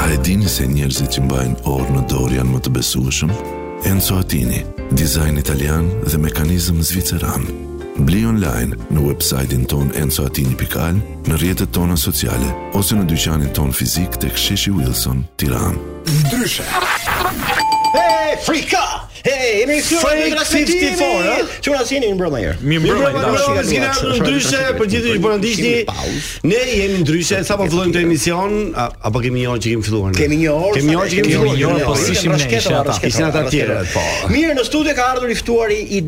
A e dini se njerëzit që mbajnë orë në dorë janë më të besueshëm? Enzo Attini, dizajn italian dhe mekanizëm zviceran. Bli online në websajtin ton enzoatini.al, në rjetët tona sociale, ose në dyqanin ton fizik të ksheshi Wilson, tiran. Hey, frika! Hey, jemi këtu Freak me transmetimin! 54, ha? Çuna sini në mbrëmje. Mi mbrëmje, Po, dashur. po, s'kena ndryshe për gjithë që po na ndiqni. Ne jemi ndryshe sapo fillojmë të emision, a- apo kemi një orë që kemi filluar. ne? Kemi një orë. Kemi një orë që kemi Kemi filluar. një orë, kemi po një orë. s'ishim ne, ishin ata. Ishin ata tjerët, po. Mirë, në studio ka ardhur i ftuari i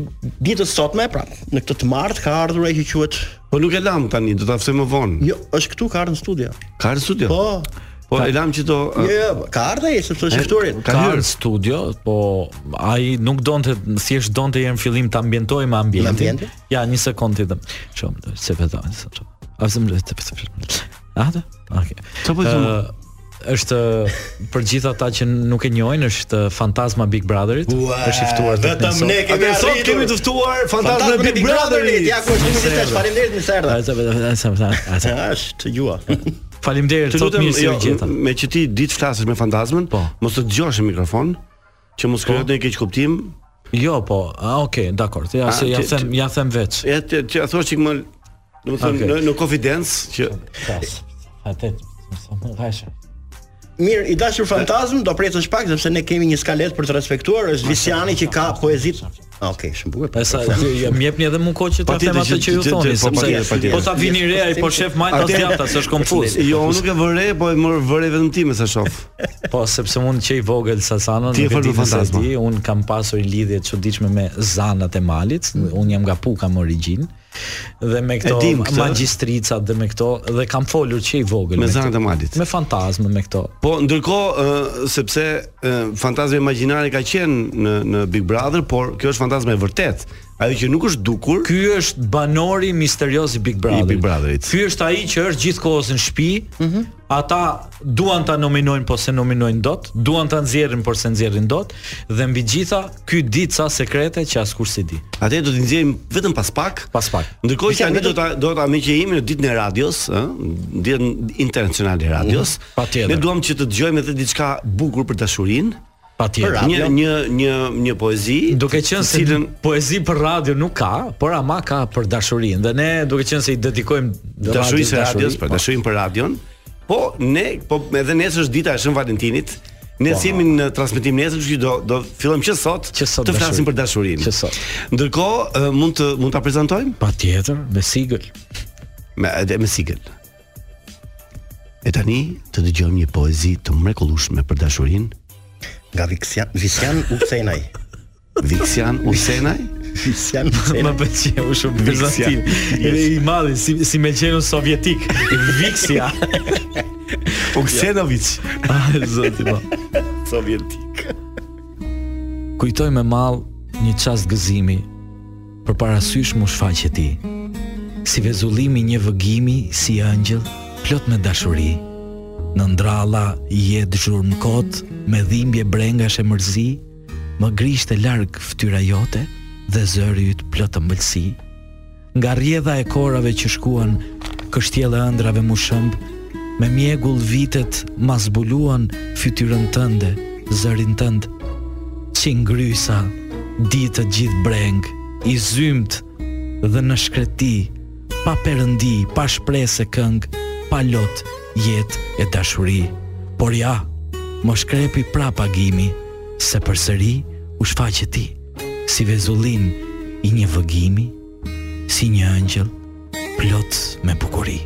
ditës sotme, pra, në këtë të martë ka ardhur ai që quhet Po nuk e lam tani, do ta ftoj më vonë. Jo, është këtu ka ardhur në studio. Ka ardhur studio. Po. Po e lam që do Jo, jo, ka ardhur ai sepse është i ftuari. Ka hyrë studio, po ai nuk donte thjesht donte herë në fillim ta ambientoj me ambientin. Me ambientin? Ja, një sekondë vetëm. Çom, se vetëm. se çom. A vëzëm le të pëtë A dhe? Oke. Çfarë po i thua? është për gjithë ata që nuk e njohin, është fantazma Big Brotherit. është i ftuar ditën e vetëm sotme. ne kemi Atë sot arritur. kemi të ftuar fantazmën Fantazmën e Big Brotherit. Ja ku është një tesh, faleminderit në A, serdha. se vetëm- a, se vetëm- a, se- Është të gjua. Faleminderit, Të sot lutem, mirë se jo, u gjeta. me që ti ditë flasësh me fantazmën, Po. mos të dëgjosh në mikrofon, që mos krijohet ndonjë keq kuptim. Jo, po, a, okay, dakor. Ja, A, se ja ti- them, ja them veç. Ja ti ti- ja thua çik më Domethënë Okej. në, në confidence që Atë, më kajshë. Mirë, i dashur fantazm, do presësh pak sepse ne kemi një skalet për të respektuar, është Visiani që ka poezit. Okej, shumë bukur. Po sa ja më jepni edhe mua kohë që ta Patjetër them atë që- që ju që- thoni, që- po, sepse patjetër, patjetër. po ta vini re ai po shef majta Atëherë- djata, s'është konfuz. jo unë nuk e vëre, po e mor vëre vetëm ti me sa shoh. Po sepse unë që i vogël Sasanën, Ti e nuk e fol di nëse për e fantazma. di, unë kam pasur një lidhje të çuditshme me zanat e malit, unë jam nga Puka me origjinë dhe me këto E dim këtë. magjistricat dhe me këto dhe kam folur që i vogël Me këto. zanat e malit. Me fantazme me këto. Po ndërkohë ë, sepse ë, fantazma imagjinare ka qenë në në Big Brother, por kjo është fantazma e vërtet. Ajo që nuk është dukur. Ky është banori misterios i Big Brother. Big Brotherit. Ky është ai që është gjithkohës në shtëpi. Ata duan ta nominojnë po se nominojnë dot, duan ta nxjerrin por se nxjerrin dot dhe mbi gjitha ky di ca sekrete që askush si di. Atë do t'i nxjerrim vetëm pas pak. Pas pak. Ndërkohë që Bisedë tani vetëm- do ta do ta me që jemi në ditën e radios, ë, në ditën internacionale e radios. Mhm, Patjetër. Ne duam që të dëgjojmë edhe diçka bukur për dashurinë. Patjetër. Një një një një poezi. Duke qenë se cilën poezi për radio nuk ka, por ama ka për dashurinë dhe ne duke qenë se i dedikojmë dashurisë e radios radios, dashuri, për po. dashurinë për radion. Po ne, po edhe nesër është dita e Shën Valentinit. Ne si jemi në transmetim nesër, kështu që do do fillojmë që sot, Po. Që sot të flasim dashuri. për dashurinë. Që sot. Ndërkohë ë, mund të mund ta prezantojmë? Patjetër, me sigël. me edhe me sigël. E tani të dëgjojmë një poezi të mrekullueshme për dashurinë nga Viksian Visian Uksenaj. Viksian Usenaj? Visian Uksenaj. Më pëlqeu shumë Bizantin. Edhe i madhi si si me qenun sovjetik, Viksia. Uksenovic. Ah, zoti po. Sovjetik. Kujtoj me mall një çast gëzimi, për parasysh mu shfaqe ti. Si vezullimi një vëgimi, si ëngjëll, plot me dashuri. Në ndralla jetë zhurmë kot, me dhimbje brengash e mërzi, më grishte larg fytyra jote dhe zëri yt plot ëmbëlsi. Nga rrjedha e korave që shkuan, kështjella ëndrave mu shëmb, me mjegull vitet ma zbuluan fytyrën tënde, zërin tënd. Si ngrysa, ditë gjithë breng, i zymt dhe në shkreti, pa perëndi, pa shpresë këngë, pa lot, jetë e dashuri. Por ja, më shkrepi pra pagimi, se përsëri u shfaqe ti, si vezullim i një vëgimi, si një ëngjëll plot me bukuri.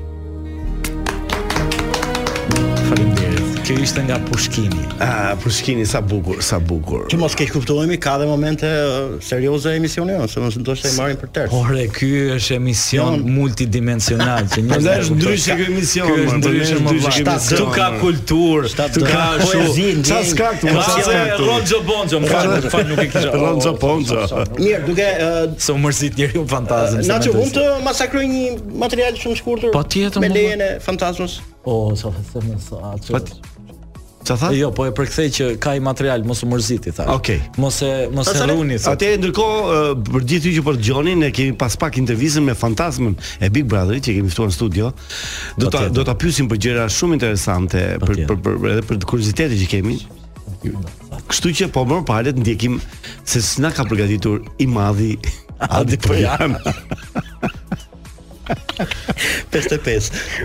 Faleminderit. Kjo ishte nga pushkimi. Ah, Pushkini sa bukur, sa bukur. Që mos keq kuptohemi, ka edhe momente eh, serioze emisioni jonë, se mos ndoshta i marrin për tërë. Por e ky është emision multidimensional që një Prandaj është ndryshe ky Ky emision, mor, është prandaj ndryshe është më ndryshe vllaj. ky emision, Këtu ka mor. kulturë, Shtat- këtu ka ka poezi, shumë. ndjenjë. Qa s'ka këtu? Ka Qa se s'ka këtu? Ronxo Bonxo, më fal, më fal, nuk e kisha. Ronxo Bonxo. Oh, Mirë, duke eh, Se u mërzit njeriu fantazëm. Na që unë të masakroj një material shumë shkurtër Patjetër, Me mua. lejen e fantazmës O, sa fse më sa atë. Pat- Qa tha? Jo, po e përkthej që ka i material, mos u mërziti tha. Okej. Mos e mos e Pastaj- rruni tha. Atë ndërkohë ë, për gjithë ju që po dëgjoni, ne kemi pas pak intervistën me fantasmën e Big Brotherit që kemi ftuar në studio. Do ta Patjetër. do ta pyesim për gjëra shumë interesante për Patjetër. për, për edhe për kuriozitetin që kemi. Kështu që po më palet ndjekim se s'na ka përgatitur i madhi Adi po Pojan. 55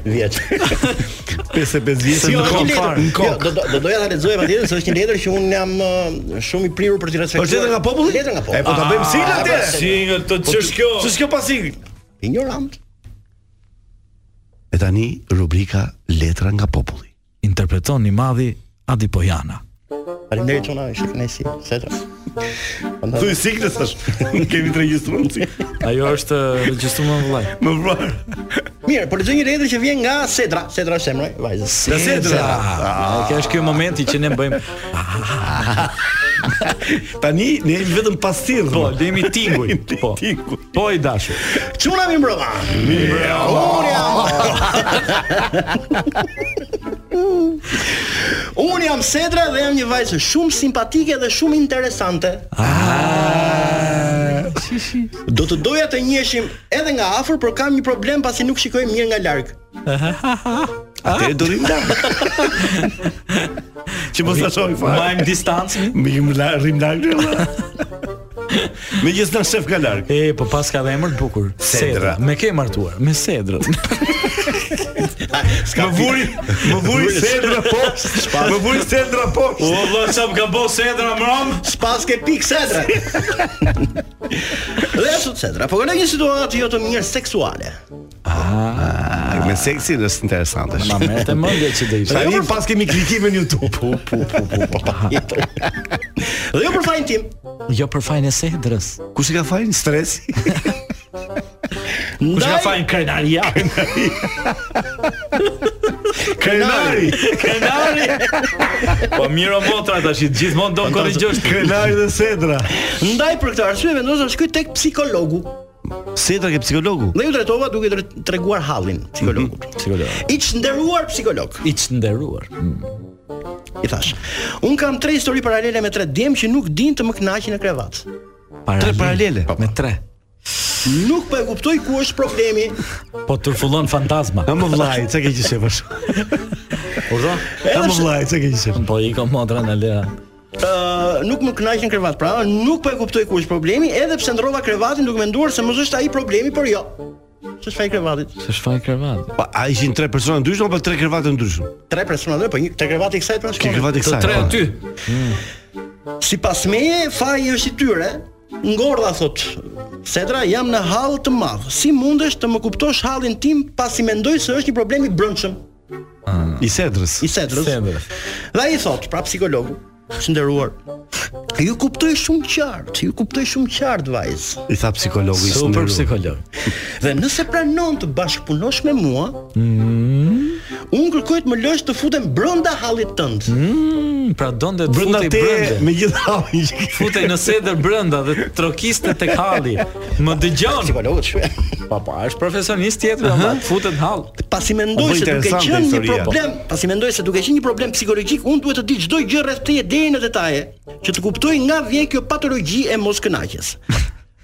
vjeç. 55 vjeç. Jo, në është kokë një letër. fare, në Jo, kokë. do do do doja ta lexoj patjetër se është një letër që unë jam ë, shumë i prirur për t'i respektuar. Është letër nga populli? Letër nga E po populli. ta bëjmë sigla atje. Single të ç'është kjo? Ç'është kjo pasigl? Ignorant. E tani rubrika Letra nga populli. Interpreton i madhi Adi Pojana. Faleminderit çuna, ishte kënaqësi. Setra. Thuaj siglën tash. Kemi të regjistruar si. Ajo është regjistruar në vllaj. Më vonë. Mirë, po lexoj një letër që vjen nga Sedra. Sedra është emri, vajza. Sedra. Ah, Kjo është ky momenti që ne bëjmë Tani ne jemi vetëm pastirë. Po, lemi tinguj. Po. Tinguj. Po i dashur. Çuna mi mbrova. Mirë. Unë jam Sedra dhe jam një vajzë shumë simpatike dhe shumë interesante. Ah. Do të doja të njiheshim edhe nga afër, por kam një problem pasi nuk shikoj mirë nga larg. Ah. Atëherë do rrim larg. Që mos ta Po shohim fare. Majm distancë. Me jim la rrim larg. ne, valla. Me gjithë na shef ka larg. E, po pas ka dhe emër të bukur. Sedra. Me ke martuar, me Sedrën. Më vuri, më vuri Sandra poshtë. Më vuri Sandra poshtë. Po. O vëlla çam ka bë Sedra mram? Spas ke pik Sedra. dhe ashtu Sedra, po kanë një situatë jo të mirë seksuale. Me seksin është interesante. Ma Jo, po- merrte mendja që do ishte. Tani pas kemi klikimin në YouTube. Po, po, po, po. Dhe jo për fajin tim. Jo për fajin e Sedrës. Kush i ka fajin stresi? Kush ka Ndaj- fajin krenaria? Krenari. Krenari. Po miro motra tash, gjithmonë do korrigjosh. Krenari dhe Sandra. Ndaj për këtë arsye vendosa të shkoj tek psikologu. Sandra ke psikologu. Dhe ju drejtova duke dre- treguar hallin psikologut. Psikolog. I çnderuar psikolog. I çnderuar. I thash, un kam tre histori paralele me tre djem që nuk din të më kënaqin në krevat. Tre paralele. Me tre. Nuk po e kuptoj ku është problemi. Po tërfullon fantazma. Ha më vllai, çka ke qesh bash? Urdhë. Ha më vllai, çka ke qesh? Po i ka motra në lera. Ë, nuk më kënaqin në krevat, pra nuk po e kuptoj ku është problemi, edhe pse ndrova krevatin duke menduar se mos është ai problemi, por jo. S'është faji krevatit. Se shfaj krevat. Pa, a ishin tre persona ndryshëm apo tre krevate ndryshëm? Tre persona dhe po një te krevati i kësaj pra Po, Ke shkon. krevate Të kësaj. tre po. aty. Sipas meje faji është i tyre, Ngordha thot, Sedra, jam në hall të madh. Si mundesh të më kuptosh hallin tim pasi mendoj se është një problem i brendshëm? I Sedrës. I Sedrës. Dhe ai thot, pra psikologu, të nderuar, ju kuptoj shumë qartë, ju kuptoj shumë qartë vajz. I tha psikologu i Super sëndëruar. psikolog. Dhe nëse pranon të bashkëpunosh me mua, unë kërkoj të më lësh të futem brenda hallit tënd. Mm, pra donte të Brenda futej te brende. me gjithë hallin që ke. Futej në sedër brenda dhe trokiste tek halli. Më dëgjon. Psikologu shpe. Pa pa, Po, është profesionist tjetër, ama futet në hall. Pasi mendoj Po, se duke interesante qenë një historia. problem, pasi mendoj se duke qenë një problem psikologjik, unë duhet të di çdo gjë rreth teje deri në detaje, që të kuptoj nga vjen kjo patologji e moskënaqjes.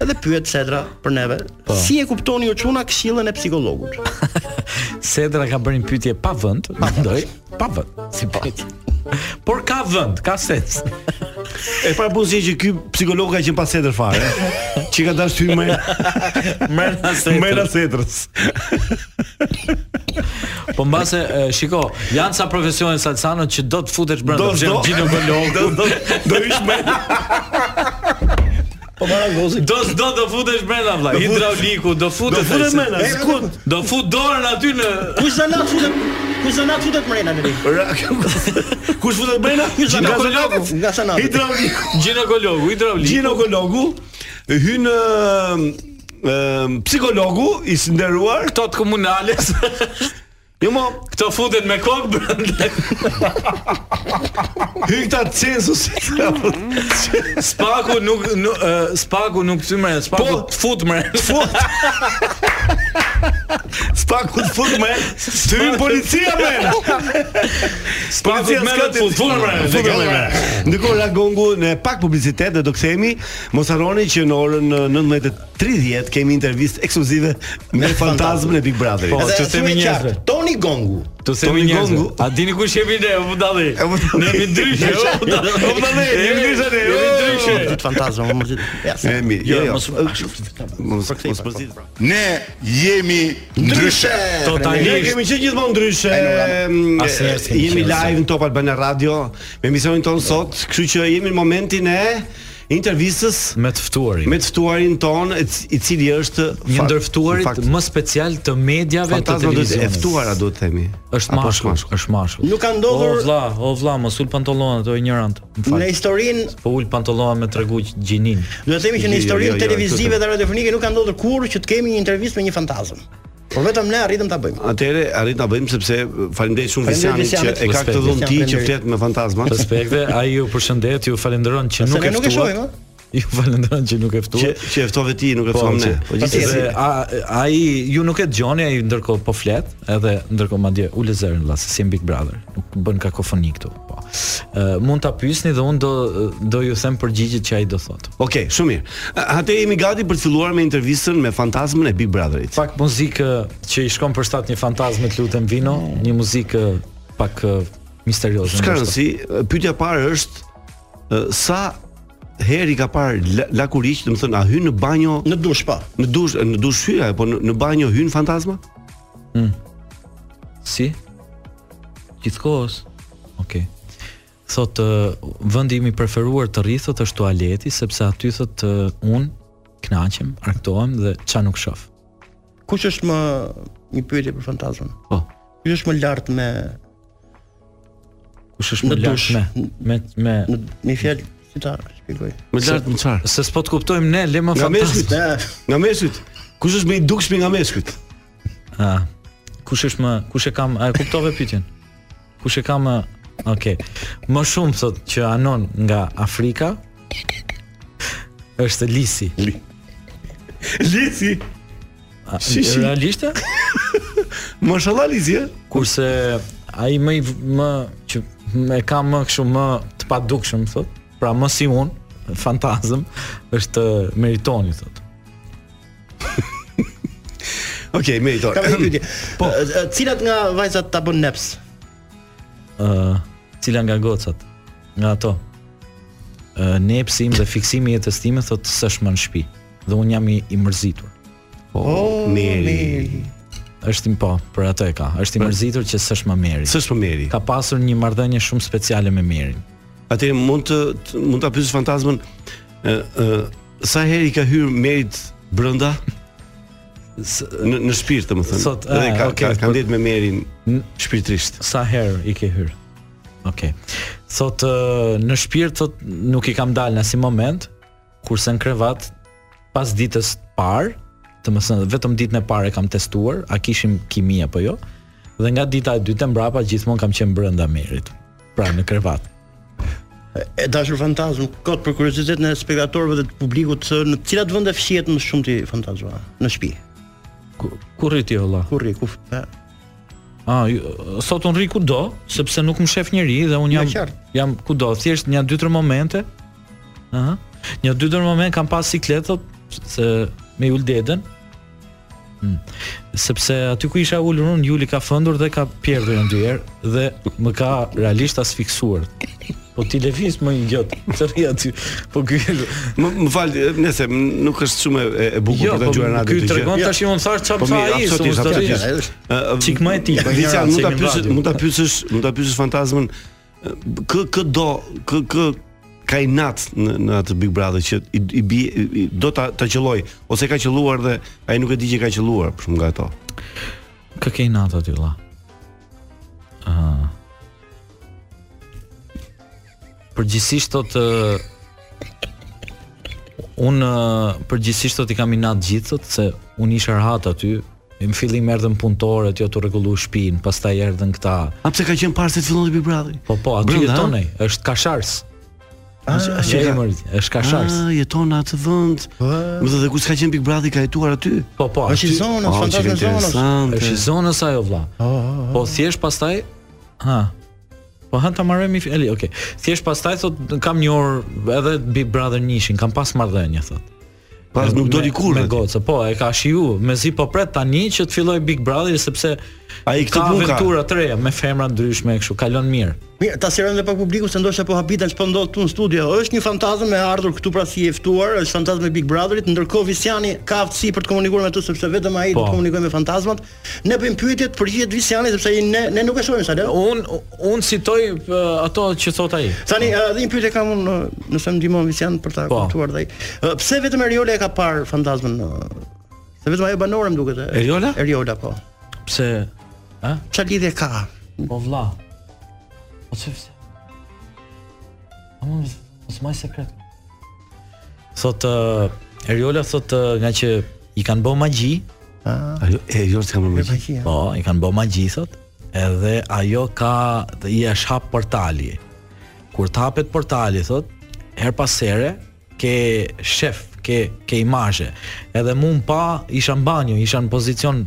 Edhe pyet Sedra për neve, si e kuptoni ju çuna këshillën e psikologut? Sedra ka bërë një pyetje pa vend, mendoj, pa vend, si po. pyetje. Por ka vend, ka sens. E para bën si që ky psikolog ka qenë pa Sedër fare. Që ka dashur ty më Merr na më Sedra. na Sedrës. Po mbase e, shiko, janë sa profesionet salsanët që do të futesh brenda, Do për do shembull ginekolog, do do do ish më do do do futesh brenda vllai, hidrauliku, do do futet. futet ai, më na se- skut. Do fut dorën aty në Kush zanat futet? Kush zanat futet mrena në ri? Kush futet brenda? Ginekologu. Nga zanat. Hidrauliku. ginekologu, hidrauliku. Ginekologu hyn ë, ë, psikologu i nderuar. Këto të komunales, Jo mo, këto futet me kokë brenda. hy këta censusit. Spaku nuk nuk e, spaku nuk thymë, spaku Po. të fut më. Fut. Spaku të fut me Të hynë policia me Spaku të merret të fut, fut më. Fut me Ndërkohë Ragongu në pak publicitet Dhe do kthehemi Mos harroni që në orën eh, 19:30 kemi intervistë ekskluzive me fantazmën e Big Brotherit. Po, Dhe që themi thuaj qartë, njerëzve. Toni Gongu. Të themi Toni njerëzve, Gongu. a dini kush jemi ne, u dalli? budalli. Ne jemi ndryshe, jo, jo, u budalli. U budalli, jemi ndryshe ne, Jemi o. ndryshe. Dit fantazma, Jo, mos dit. Ja. E mirë, jo, jo. mos Mos mos përzi. Ne jemi ndryshe. Po, Ne Totalisht. kemi qenë gjithmonë ndryshe. Asnjëherë s'kemi Jemi qenë live në Top Albana Radio me emisionin ton sot, kështu që jemi në momentin e intervistës Me të ftuarin. me të ftuarin ton, e c- i cili është Një fakt- ndërftuarit fakt- më special të mediave të Fantazma duhet e televizionit. ftuara duhet themi. Është Apo mashkull, është mashkull. Nuk ka O ndodhur- vlla, o vlla, mos ul pantallonat, o ignorant. Më Në fal. historinë Po ul pantallona me tregu gjinin. Do të themi që Jo, në jo, jo, historinë jo, televizive këtë- dhe radiofonike nuk ka ndodhur kurrë që të kemi një intervistë me një fantazëm. Por vetëm ne arritëm ta bëjmë. Atëre arrit ta bëjmë sepse uh, faleminderit shumë Faleminderit Visianit që Visianit. e ka këtë Respekt. dhunti që Faleminderit. flet me fantazma. Respekte, ai ju përshëndet, ju falenderoj që nuk ne e nuk e shohim, ftuat. Ju falenderoj që nuk e Që ftuat. që e ftove ti, nuk e ftuam ne. Po gjithsesi gjithsesi ai ju nuk e dëgjoni, ai ndërkohë po flet, edhe ndërkohë madje u lezërin vlla se si në Big Brother, nuk bën kakofoni këtu. Po. Ë, mund ta pyesni dhe unë do do ju them përgjigjet që ai do thotë. Okej, shumë mirë. Atë jemi gati për të filluar me intervistën me fantazmën e Big Brotherit. pak muzikë që i shkon përshtat një fantazme të lutem vino, një muzikë pak eh, misterioze. S'ka ndoshta. rëndsi, pyetja e parë është ë, sa herë i ka parë la- lakuriç, do të thënë a hyn në banjo, Në dush po. pa. në dush, në dush hyra, apo në, në banjo hyn fantazma? Si? Gjithkohës. Okej. Thot eh, vendi im i preferuar të rri thot është tualeti sepse aty thot eh, un knaqem, arktohem dhe ça nuk shoh. Kush është më një pyetje për fantazmën? Po. Kush është më lart me Kush është më Në lart dush. me me me në me fjalë si ta shpjegoj? Më lart më çfarë? se s'po të kuptojmë ne, le më Nga meshkut, fantazme. nga meshkut. Kush është më i dukshmi nga meshkut? Ah. Kush është më kush e kam a e kuptove pyetjen? Kush e kam a, Okej. Më shumë thot që anon nga Afrika është Lisi. Lici. A, Si, si. Realisht? e? Mashallah Lici, ë? Kurse ai më i v- më që më e kam më kështu më të padukshëm thot. Pra më si un, fantazëm është Meritoni thot. Okej, meritor. Kam një pyetje. Po, cilat nga vajzat ta bën neps? Ë, cila nga gocat? Nga ato. Ë, nepsi im dhe fiksimi i jetës time thot s'është më në shtëpi dhe un jam i, i mërzitur. Oh, Po, meri. është im po, për atë e ka. Është i mërzitur që s'është më Meri. S'është po meri. Ka pasur një marrëdhënie shumë speciale me Merin. Atëherë mund të, të mund ta pyesësh fantazmën ë ë sa herë i ka hyrë merit brenda në në shpirt, domethënë. Sot, Edhe ah, ka, okay, ka, ka ndjetë me merin shpirtërisht. Sa herë i ke hyrë? Okej. Thot ë, në shpirt thot nuk i kam dalë në asnjë moment, kurse në krevat pas ditës të parë, të më thënë vetëm ditën e parë e kam testuar, a kishim kimi apo jo? Dhe nga dita e dytë e mbrapa gjithmonë kam qenë brenda merit, pra në krevat. E dashur fantazm, kot për kuriozitetin e spektatorëve dhe të publikut se në cilat vende fshihet më shumë ti fantazma? Në shtëpi. Ku- Ku rri ti olla? Ku rri, ku f- e, Ah, ju- sot unë rri kudo, sepse nuk më shef njëri dhe unë jam Nga qartë. jam kudo, thjesht një dy tre momente. Aha. Një dy tre moment kam pas sikletët se me ul dedën. Hmm. Sepse aty ku isha ulur unë, Juli ka fëndur dhe ka pjerdhur një dy herë dhe më ka realisht asfiksuar. Po ti lëviz më idiot. Të rri aty. Po ky Më, më fal, nëse m- nuk është shumë e, e bukur Jo, për ta po dëgjuar në radio ky tregon tash unë thash çfarë Po tha mirë, ai, s'u absolutisht, zotëri. absolutisht. Çik më e ti, po Vica, ignorant, mund se ta kemi pyesësh, radio. mund ta pyesësh, mund ta pyesësh fantazmën ë, kë kë do, kë kë ka i nat në, në atë Big Brother që i, i, bie- i, i do ta ta qelloj ose ka qelluar dhe ai nuk e di që ka qelluar për shumë nga ato. Kë ke i natë aty vëlla? Ah. Përgjithsisht thot uh, un uh, përgjithsisht thot i kam i natë gjithë thot se un isha rahat aty. Në fillim erdhën punëtorët, jo të rregullu shtëpinë, pastaj erdhën këta. A pse ka qenë parë se të fillon Big Brother? Po po, aty Brenda, jetonej, është kashars. Ah, Që e mërë, është kashars. Ah, jeton në atë vend. Më thënë dhe kur s'ka qenë Big Brother ka jetuar aty. Po po, Është i aty zonës, Oh, që fantazma e zonës. interesante. është i zonës ajo vlla. Ah, Po thjesht pastaj ha. Po han ta marrë mi Eli, okay. Thjesht pastaj thot kam një orë edhe Big Brother nishin, kam pas marrëdhënie thot. Pas nuk doli Me- kurrë. Me gocë, po, e ka shiu, mezi po pret tani që të filloj Big Brother sepse Ai këtë ka punë ka. aventura të reja me femra ndryshme e kështu, kalon mirë. Mirë, ta sjerojmë dhe pak publiku se ndoshta po habitan ç'po ndodh këtu në studio. Është një fantazëm e ardhur këtu pra si e ftuar, është fantazmi i Big Brotherit, ndërkohë Visiani ka aftësi për të komunikuar me ty sepse vetëm ai do Po. të komunikojë me fantazmat. Ne bëjmë pyetjet përgjigjet Visiani sepse ai ne ne nuk e shohim sa le. Un un citoj ë, ato që thot ai. Tani edhe një pyetje kam unë, ë, nëse më ndihmon Visian për ta Po. kuptuar dhe ai. Ë, Pse vetëm Eriola e ka parë fantazmën? ë, Se vetëm ajo banore më duket. e- Eriola? Eriola po. Pse Çfarë lidhje ka? Po vlla. Po çe pse? Amon, mos maj sekret. Thot uh, Eriola thot uh, nga që i kanë bë magji, Ajo, e jo s'ka më mëngjes. Magjia. po, i kanë bë magji thot, edhe ajo ka dhe i është hap portali. Kur të hapet portali thot, her pas here ke shef, ke ke imazhe. Edhe mua më pa isha mbanjo, isha në pozicion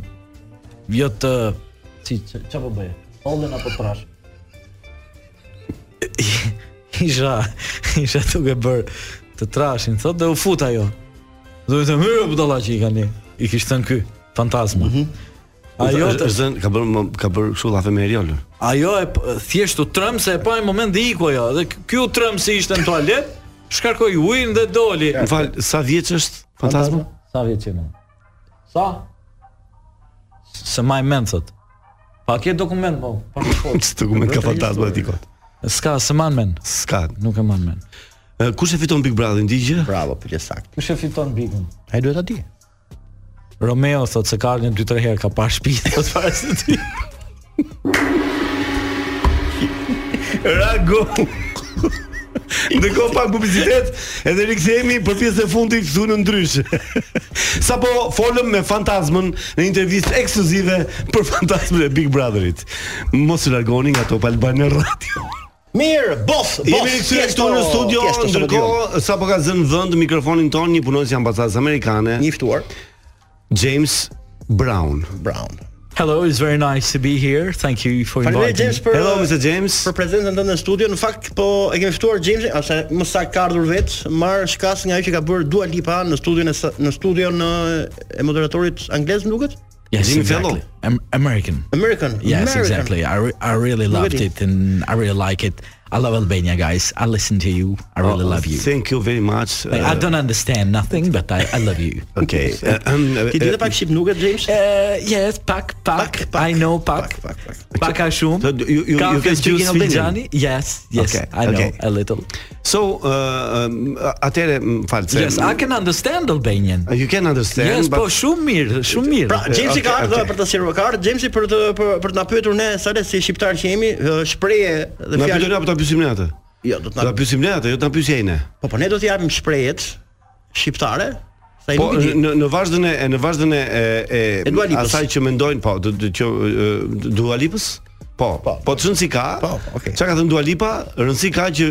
jo të si ç- ç'a po bëje? Ollën apo trash? isha isha duke bër të trashin, thotë dhe u fut ajo. Do të hyrë po dalla që i kanë. I kishte thënë ky fantazma. Ajo të, është zënë, ka bërë më- ka bërë kështu llafe me Eriolën. ajo e p- thjesht u trëm se e pa në moment dhe iku ajo dhe ky u trëm se ishte në tualet, shkarkoi ujin dhe doli. Më fal, sa vjeç është fantazma? Sa vjeç je më? Sa? Se më mend thot. Pa ke dokument po, pa ke foto. Çë dokument ka fantazma ti kot? S'ka, se më mend. S'ka. Nuk e më mend. E, Kush e fiton Big Brother ndi gjë? Bravo, pyetje saktë. Kush e fiton bigun? Ai duhet ta di. Romeo thot se ka ardhur 2-3 herë ka parë shtëpi Po thot para se ti. Rago. Ndërkohë pak publicitet, edhe rikthehemi për pjesën e fundit këtu në ndryshe. Sapo folëm me Fantazmën në intervistë ekskluzive për Fantazmën e Big Brotherit. Mos u largoni nga Top Albana Radio. Mirë, bof, bof. Jemi rikthyer këtu në studio, ndërkohë sapo ka zënë vend mikrofonin ton një punonjës i ambasadës amerikane, një ftuar James Brown. Brown. Hello, it's very nice to be here. Thank you for Faleminderit inviting James me. për Hello Mr. James. për prezencën tënde në studio. Në fakt po e kemi ftuar Jamesin, ose më sa ka ardhur vet, marr shkas nga ajo që ka bërë Dua Lipa në studion e sa- në studion në e moderatorit anglez më duket? Yes, Jimmy exactly. Fallon. Am- American. American. Yes, American. exactly. I, re- I really loved at him. it and I really like it. I love Albania, guys. I listen to you. I really Oh, love you. Thank you very much. Like, Uh, I don't understand nothing, but I, I love you. Okay. Ehm, Ti di të pak shqip nuket James? Uh, yes, pak, pak, Pak, pak, I know pak, pak. pak, pak. Pak a shumë. So, do you- you- you Kafe, can speak juice, in Albanian? filxhani. Yes, yes, Okay, I know okay. a little. So, uh, um, atëre, më fal, se Yes, I can understand Albanian. You can understand. Yes, but- po shumë mirë, shumë mirë. Pra, Jamesi ka okay, ardhur okay. për të sjellur ka ardhur Jamesi për të për, për të na pyetur ne sa le si shqiptar që jemi, ë, shprehje dhe Na pyetën fjalë. apo ta pyesim ne atë? Jo, do të Ta na pyesim ne atë, jo ta pyesë ai ne. Po po ne do të japim shprehjet shqiptare, sa i Po nuk i di. në në vazhdën e në vazhdën e e, E Dua Lipës. asaj që mendojnë, po, do të që e, Dua Lipës? Po. Po, po të rëndsi ka. Po, po, okay. Çka ka thënë Dua Lipa? Rëndsi ka që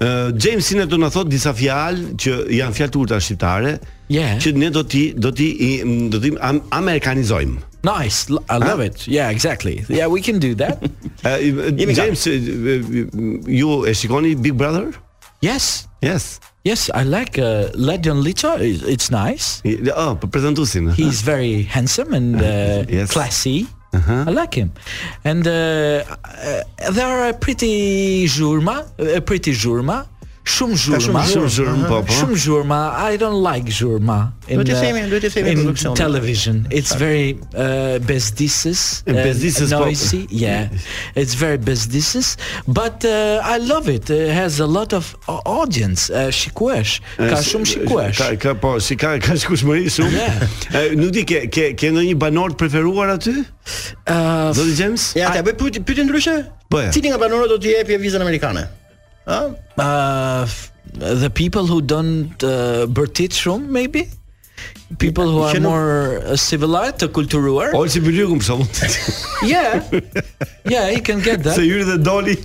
uh, James Sine do na thot disa fjalë që janë fjalë turta shqiptare, Yeah. që ne do ti do ti i- m, do ti am, amerikanizojmë. Nice, l- I love it. Yeah, exactly. Yeah, we can do that. Uh, James, e, e, ju e shikoni Big Brother? yes. Yes. Yes, I like uh, Ledion Licha. It's it's nice. I- Oh, për prezantuesin. He's very handsome and uh, Yes. Uh-huh. classy. I like him. And uh, uh, there are a pretty zhurma, a pretty zhurma, shumë zhurma. shumë zhurmë, po, po. Shumë zhurma. I don't like zhurma in, Duhet t'i uh, themi, duhet t'i themi in produksionin. television. It's very uh, bezdises. E, bezdises, po. noisy. Yeah. It's very bezdises. But uh, I love it. It has a lot of uh, audience. Uh, shikuesh. Ka shumë shikuesh. Ka ka po, si ka ka shikueshmëri shumë. Yeah. E, Eh, Nuk di ke ke ke ndonjë banor të preferuar aty? Uh, Zoti James? Ja, ta bëj pyetje pyetje ndryshe? Bëje. Cili nga banorët do t'i japë vizën amerikane? Ë? uh, f- the people who don't uh, bërtit shumë maybe people who are Që nuk- more uh, civilized të kulturuar Olsi Bylyku për shembull. yeah yeah he can get Se that hyri dhe doli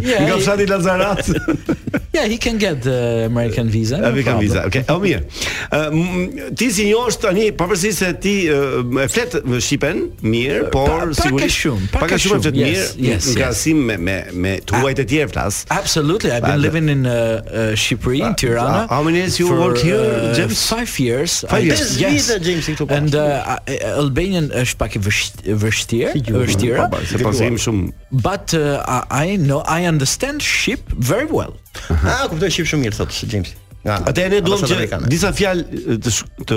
Yeah, nga i- fshati Lazarat. yeah he can get the Uh, American visa no Avi ka problem. viza. Okej, o mirë. Ë, m- ti si njohësh tani, pavarësisht se ti ë, e flet shqipen mirë, por pak e sigurisht shumë, pak pak e e shumë e flet shumë, mirë yes, yes, në yes. Ah. krahasim me me me tuajt e tjerë flas. Absolutely. I've been Vale. living in uh, uh, Shqipëri, in Tirana. uh, how many years you for, work here, uh, James? Five years. I- Five years. Pesë vite, James, i këtu pas. And uh, I- Albanian është pak e vësht- vështirë, Mm-hmm. vështira. Po, se pasi im shumë But uh, I, I know I understand ship very well. Ah, kuptoj shqip shumë mirë thot James. Nga. Atë ne duam ambasadë që amerikane. disa fjalë të sh- të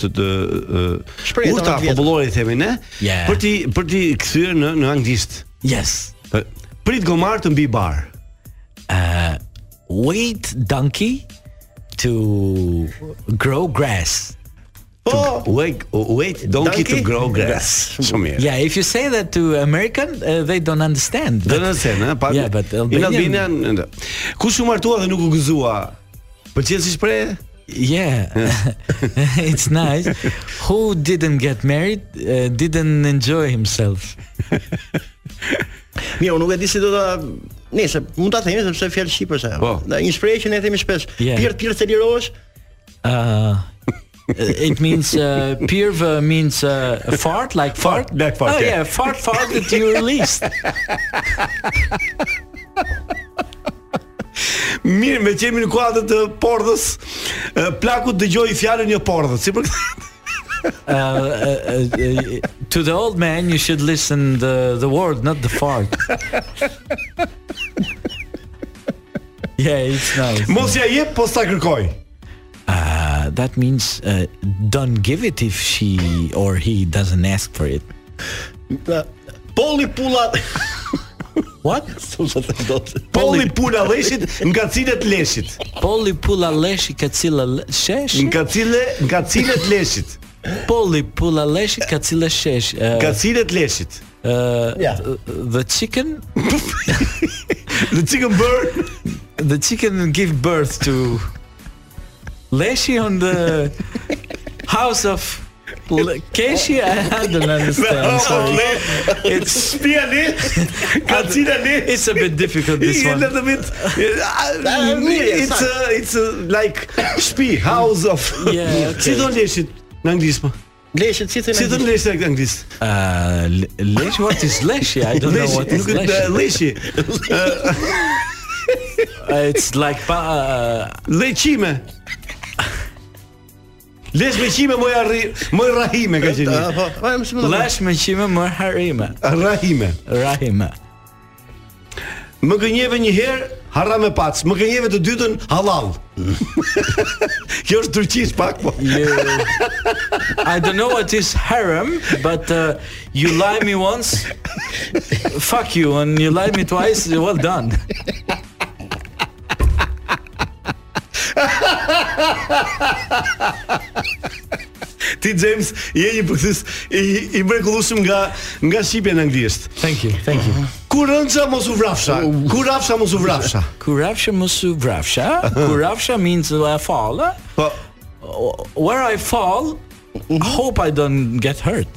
të të Shprehje urta të vjetra. popullore i themi ne Yeah. për ti për ti kthyer në në anglisht. Yes. Për- Prit gomar të mbi bar. Wait, donkey, to grow grass. Po, Wait, wait donkey to Donkey? grow grass. Shumë mirë. Yeah, if you say that to American, uh, they don't understand. Do But- në sen, ha, pak. Yeah, but In Albanian- Albania. Kush u martua dhe nuk u gëzua? Pëlqen si shprehje? Yeah, it's nice. Who didn't get married uh, didn't enjoy himself. Mirë, unë nuk e di si do ta Nëse mund ta themi sepse fjalë shqipe është ajo. Po. Dhe Një shprehje që ne themi shpesh, Yeah. pirt pirt se lirohesh, Uh, it means uh, pirve means uh, fart, like fart. like fart, Oh yeah. yeah, fart, fart that you released. Mirë, me qemi në kuadër të pordhës, e, plaku dëgjoi fjalën një pordhës. Si për Uh, uh, uh, uh, to the old man, you should listen the the word, not the fart. yeah, it's nice. mos ja jep, po sa kërkoj. Uh, that means uh, don't give it if she or he doesn't ask for it. dhe polli pulla, What? thonë se do të. Polli pula leshit nga cilet leshit. Polli pulla leshi ka cila le- shesh? Nga cile, nga cilet leshit. Polli pulla leshi ka cila shesh? Uh, Nga cilet leshit. uh, Ja. The chicken, Dhe çikën bër, the chicken give birth to leshi on the house of Le- Keshi. I don't understand. Sorry. It's spia le, nga cila le. it's a bit difficult this A one. little bit. Ah, mirë, It's a, it's a, like spi house of. Yeah, okay. Si do leshit në anglisht po? Leshët si Si do thënë. leshit në anglisht? Uh, le- leshi, what is leshi? I don't know Leshi, what is nuk leshi. e- leshi. Uh, it's like pa, uh, Leqime. Lesh me qime moj arri, moj rahime ka qenë. Po, po, më shumë. lesh me qime më harime. Rahime. Rahime. Më gënjeve një herë, harra me pac. Më gënjeve të dytën, halal. Kjo është turqisht pak po. You, I don't know what is harem, but uh, you lie me once, fuck you, and you lie me twice, well done. Ti James je një përkthys i, i mrekullueshëm nga nga shqipja në anglisht. Thank you, thank you. Kur rënca mos u vrafsha. Kur rafsha mos u vrafsha. Kurafsha mos u vrafsha. Kurafsha means that I fall. eh? Po. Where I fall, I hope I don't get hurt.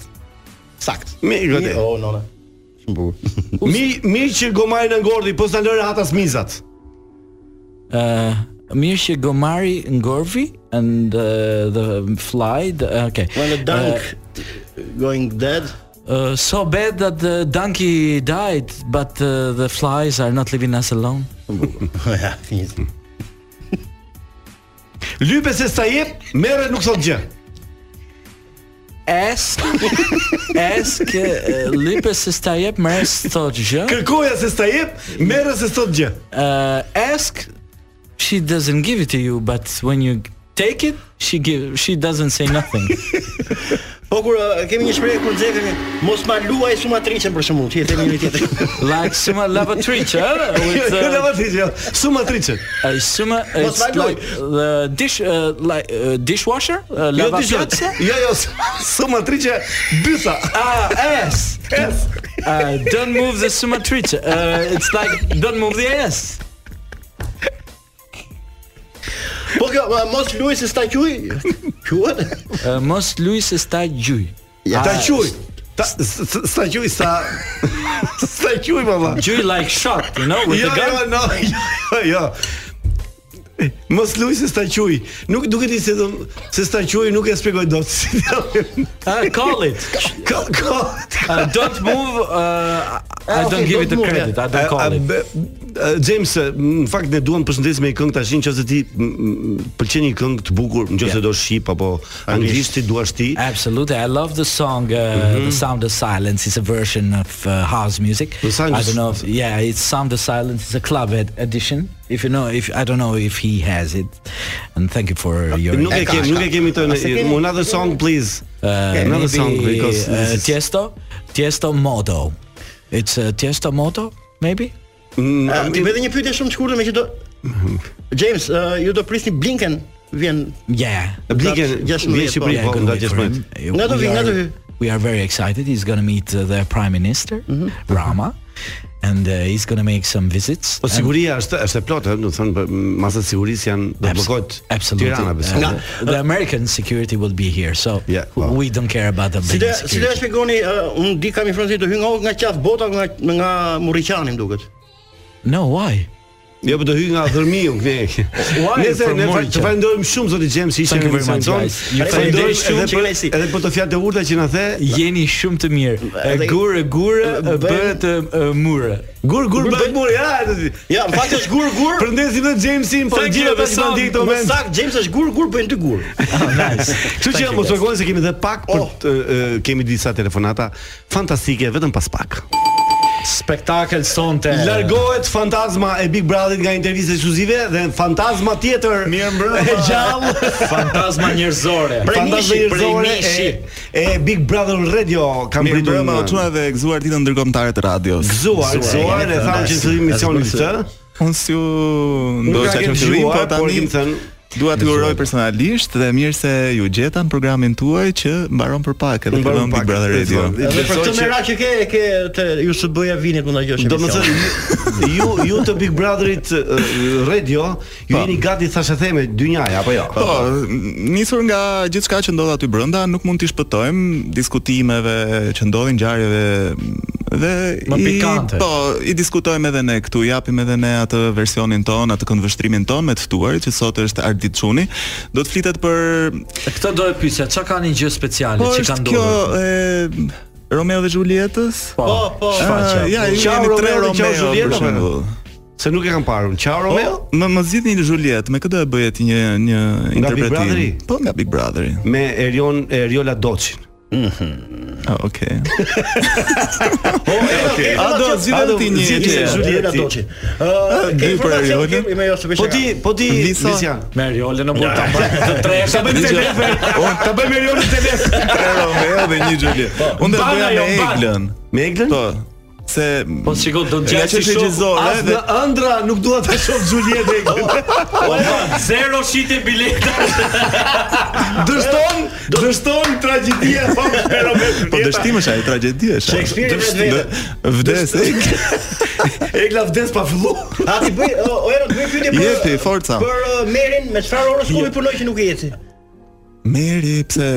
Sakt. Mirë, gote. Oh, no, no. Shumë bukur. Mi mi që gomajin e ngordhi, po s'na lëre hatas mizat. Uh, mirë që gomari ngorvi and uh, the fly the, okay When the dunk going dead. Uh, so bad that the donkey died but uh, the flies are not leaving us alone Ja, finis. Lype se sa jep, merre nuk thot gjë. ask ask uh, lipe se sta jep mres thot gjë Kërkoja se sa jep, merre se thot gjë. uh, ask she doesn't give it to you but when you take it she give she doesn't say nothing Po kur uh, kemi një shprehje kur nxekën mos ma luaj sumatriçen për shembull, që e themi njëri tjetrin. like suma lavatrice huh? with Jo, uh, lavatriçe. Sumatriçe. I assume uh, it's What's my like the dish, uh, like uh, dishwasher, uh, Jo, lava ti shë- piazza. Jo, jo, sumatriçe bytha. Ah, ass. Es. Uh, don't move the sumatrice. Uh, it's like don't move the ass. Po kjo uh, mos luaj se sta quj. Quhet? Uh, mos Luis sta gjuj. Ta quj. Ta s- s- sa quj sa sa quj valla. Gjuj like shot, you know, with Jo, the jo, gun. no, jo, jo. Mos luj se sta quj. Nuk duket i se do- se sta quj nuk e shpjegoj dot. Si do- Uh, call it. Ka ka. Uh, don't move. Uh, I don't give it the credit. I don't A- call a- it. be- a, James, në fakt ne duam përshëndesim me një këngë tashin nëse ti m, m, pëlqen një këngë të bukur, nëse do shqip apo anglisht ti duash ti. Absolutely, I love the song uh, Mm-hmm. "The Sound of Silence." It's a version of uh, house music. The Sound I of- don't know. If, yeah, it's "Sound of Silence." It's a club ed- edition. If you know, if I don't know if he has it, and thank you for your. Nuk e ka, ka. kemi, nuk e kemi A se tonë. kemi- Another song please. uh, Another maybe, song because uh, this is- Tiesto, Tiesto motto. It's uh, Tiesto motto, maybe. Uh, Vetëm një pyetje shumë të shkurtër me që do James, uh, ju do prisni Blinken vjen. Yeah. Blinken, gjashtë vjen në Shqipëri Ja, Yeah, po gonna nga wait for gjashtë him. Uh, Nga do we vi, nga are- do vi. We are very excited. He's going to meet uh, the Prime Minister, Mhm. Rama, and uh, he's going to make some visits. Po And- siguria është është e plotë, ëh, do të thonë për- masat e sigurisë janë do të Abs- bllokohet. Absolutely. Tirana besoj. po. Uh, the American security will be here, so Yeah, wow. we don't care about the Si do American si do ja security. shpjegoni, uh, unë di kam informacion se do hy nga nga qaf bota nga nga Murriqani më duket. No, why? Jo, po do hy nga dhërmiu këne. Why Nëse from ne fal- Morica? të falenderojmë shumë zoti James që ishte Thank you në very much, emisionin tonë. guys. Ju falenderoj edhe shumë që për- keni si. Edhe për të fjalët e urta që na the. Jeni shumë të mirë. E Edhe- gurë, gurë, e Bëhen- bëhet e, e, murë. Gur gur Gur, bëj bëj- mur, ja. Ja, në fakt është gur gur. Përndesim edhe Jamesin, po Thank you, gjithë ata që na Besan. ndjejnë këto Më moment. sakt James është gur gur bën dy gur. Kështu që mos largohen se kemi edhe pak për Oh. të, e, kemi disa telefonata fantastike vetëm pas pak. Spektakel sonte. Largohet fantazma e Big Brotherit nga intervista ekskluzive dhe fantazma tjetër e gjallë Fantazma njerëzore. Prej Fantazma mishi, prej njerëzore mishi. e, e Big Brother Radio kam Mirë pritur mbrëma në- u çuna dhe gëzuar ditën ndërkombëtare të radios. Gëzuar, gëzuar e thamë që në fillim misionin këtë. Po Unë si u Nuk ka ndoshta këtë që fillim, po gjuar, por tani kim thënë dua t'ju uroj personalisht dhe mirë se ju gjeta në programin tuaj që mbaron për pak edhe Mbaron fillon pak, Big Brother Radio. fillon. Edhe për Besoj këtë që- merak që ke ke te USB-ja vinit mund ta gjosh. Do më thënë, ju, ju të Big Brotherit eh, radio Ju jeni gati thashe theme dynjaja, apo jo? Po, nisur nga gjithçka që ndodh aty brenda, nuk mund t'i shpëtojmë diskutimeve që ndodhin ngjarjeve dhe Më pikante. I, po, i diskutojmë edhe ne këtu, japim edhe ne atë versionin ton, atë këndvështrimin ton me të ftuarit që sot është Ardit Çuni. Do të flitet për Këtë do e pyesja, çka kanë një gjë speciale po që është kanë kjo ndodhur? e Romeo dhe Julietës? Po, po, shfaqja. Ah, ja, ju Ciao, jeni tre Romeo dhe ciao, Romeo Julieta, për po. shembull. Se nuk e kam parë, unë. Ciao Romeo Po, më më zgjidhni një Juliet, me këtë e bëhet një një interpretim. Brotheri? Po nga Big Brotheri. Me Erion, Eriola Docin Ah, okay. okay. A do zgjidhni ti një zgjidhni gjë? Juliet. Julieta ti. Doçi. Ë, dy ke për informacion Erionin. kemi me jo se Po ti, po ti, Lisa? Lisian Me Riolën në burtë të tresha të gjithë. Unë ta bëjmë Erionin të lefë Tre Romeo dhe një Juliet. Unë do Mbana bëja jo, me mbana. Eglën. Me Eglën? Po. se Po shiko do të nga gjej si çështje gjizore As dhe Oh, në ëndra nuk dua ta shoh Julietin. Zero shite bileta. Dështon, dështon tragjedia e famshme e Robert po dështim është ai tragjedi është. ajo. Shakespeare Dësht- vetvete. dë- Vdes. Egla vdes pa fillu. A ti bëj o o, Erot bëj pyetje për Jepi forca. për uh, Merin me çfarë orë shkoi punoj që nuk e jeti. Meri pse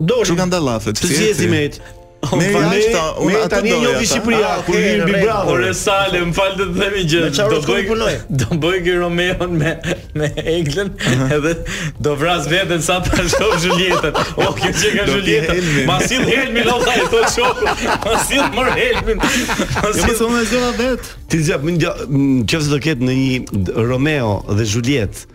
Doli. Çu kanë dallafet? Të zgjesi me të. Meri Pa, ashta, unë me atë tani e doja. njoh ta. Shqipëria Ah, kur okay, vjen në Big rregull. Brother. Ore Sale, më fal të themi gjë. Me çfarë Do orë shkoj bëj punoj? do bëj ky Romeon me me Englën edhe do vras veten sa ta shoh Julietën. O kjo që ka Do t'je Julieta. helmin. Ma sill helmin o vllai thot shoku. Ma sill mor helmin. Jo Ma mos sill. unë e zgjova vet. Ti zgjat, më ngja- më qoftë do ketë në një Romeo dhe Juliet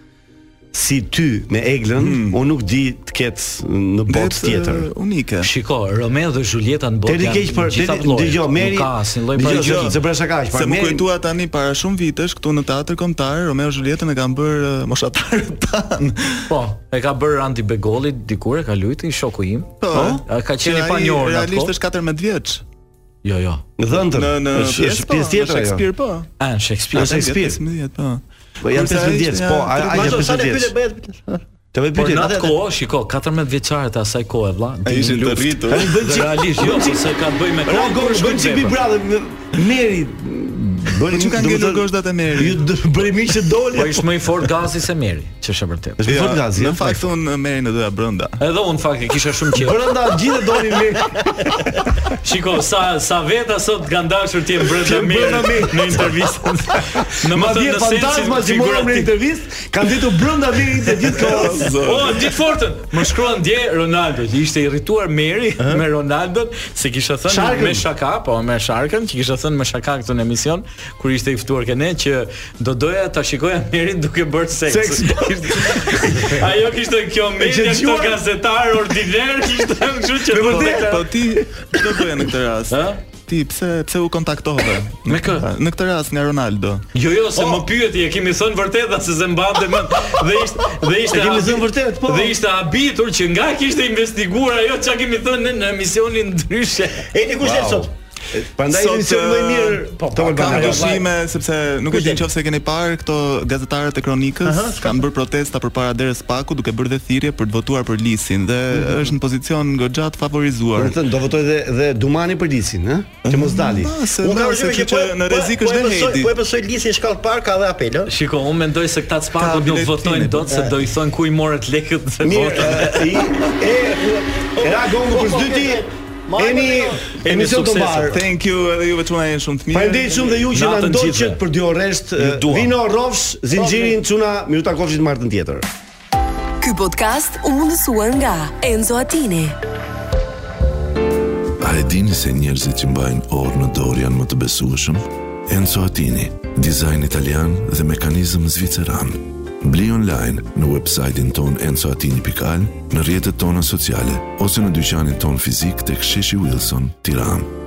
si ty me Eglën, Hmm. unë nuk di të ketë në botë Vetë, tjetër. e, Unike. Shiko, Romeo dhe Julieta në botë. Deri keq për deri- dëgjoj, Meri. Nuk ka asnjë lloj dëgjoj, paraqitje. se bresha kaq, Se pra më Meri. kujtua tani para shumë vitesh këtu në teatër kombëtar Romeo Julietën e kanë bërë uh, moshatarët tan. Po, e ka bërë Andi Begolli dikur e ka luajti shoku im. Po. a ka qenë i që ai panjohur atko? Realisht është 14 vjeç. Jo, jo. Në dhëndër. Në në Është- është pjesë tjetër në ajo. Shakespeare po. Ah, në Shakespeare. Është Shakespeare. 15 po. Po janë Kurse ai 15 vjeç, që po, janë ai ai Ma është do sa 15 ne pyetje vjeç. bëhet. Të Po vë në pyetjen atë kohë, shiko, 14 vjeçarët e asaj kohe, vlla. Ai dilnin ishin të luftë. rritur. Tani bëjnë çik- Realisht, jo, bëjnë çik- se ka të bëjë me Ra gol bën si Big Brother Pra, me- Meri. Bën po, çu kanë ngelur gozhdat e Merit? Ju d- bëri mirë që doli. Po ishte më i fortë Gazi se Meri, që është e vërtetë. Është Ja, fort gazi. jo, Në fakt unë merrin në doja brenda. Edhe unë fakt e kisha shumë qejf. brenda gjithë dolin mirë. Shiko, sa sa veta sot kanë dashur ti brenda T'jem brenda Meri Merit. në intervistën. Në më Madje thënë në fantazma sensin që morëm në figurativ. intervistë kanë ditur brenda mirit të gjithë kohës. O, ditë fortën. Më shkruan dje Ronaldo, që ishte irrituar Meri me Ronaldon, se kisha thënë Sharkën. me shaka, po me Sharkën, që kisha thënë me shaka këtë në emision kur ishte i ftuar ke ne që do doja ta shikoja Merin duke bërë seks. Seks. po. Ishte- Ajo kishte kjo që media këto gjuar- gazetar ordiner, kishte kështu që Me do vërtet, deklar- Po ti ç'do bëje në këtë rast? Ha? Ti pse pse u kontaktove? Po. Me kë? Në këtë rast nga Ronaldo. Jo, jo, se më pyeti, e kemi thënë vërtet se se mbante më dhe ishte dhe ishte E kemi habi- thënë vërtet, po. Dhe ishte habitur që nga kishte investiguar ajo çka kemi thënë në, në emisionin ndryshe. E ti kush jeni sot? uh, Prandaj Sot, emisioni më i mirë. Po, po, Kam ndryshime sepse nuk e di del? nëse keni parë këto gazetarët e kronikës kanë bërë protesta përpara derës Paku duke bërë dhe thirrje për të votuar për Lisin dhe Mhm. është në pozicion goxhat favorizuar. Do të thënë do votoj edhe edhe Dumani për Lisin, ë? Që mos dali. Ma, se Unë ma, kam se përshtypjen kështu që po- në rrezik është dhe Hedi. Po e besoj lisin shkallë park ka dhe apel, ë? Shiko, unë mendoj se Ka këta spaku nuk biletine, votojnë po. dot se do i thonë ku i morët lekët dhe Mirë, votën. e, i e e ra gongu për zdyti. Jemi emision të suksese. mbarë. Thank you edhe juve çuna jeni shumë të mirë. Faleminderit shumë dhe ju që na Natën ndoqët gjithve. për dy orësht. dua. Vino rrofsh, zinxhirin çuna, miru takofshit martën tjetër. Ky podcast u mundësua nga Enzo Attini. A e dini se njerëzit që mbajnë orë në dorë janë më të besueshëm? Enzo Attini, dizajn italian dhe mekanizëm zviceran. Bli online në websajtin ton enzoatini.al, në rjetët tona sociale, ose në dyqanin ton fizik të ksheshi Wilson, tiranë.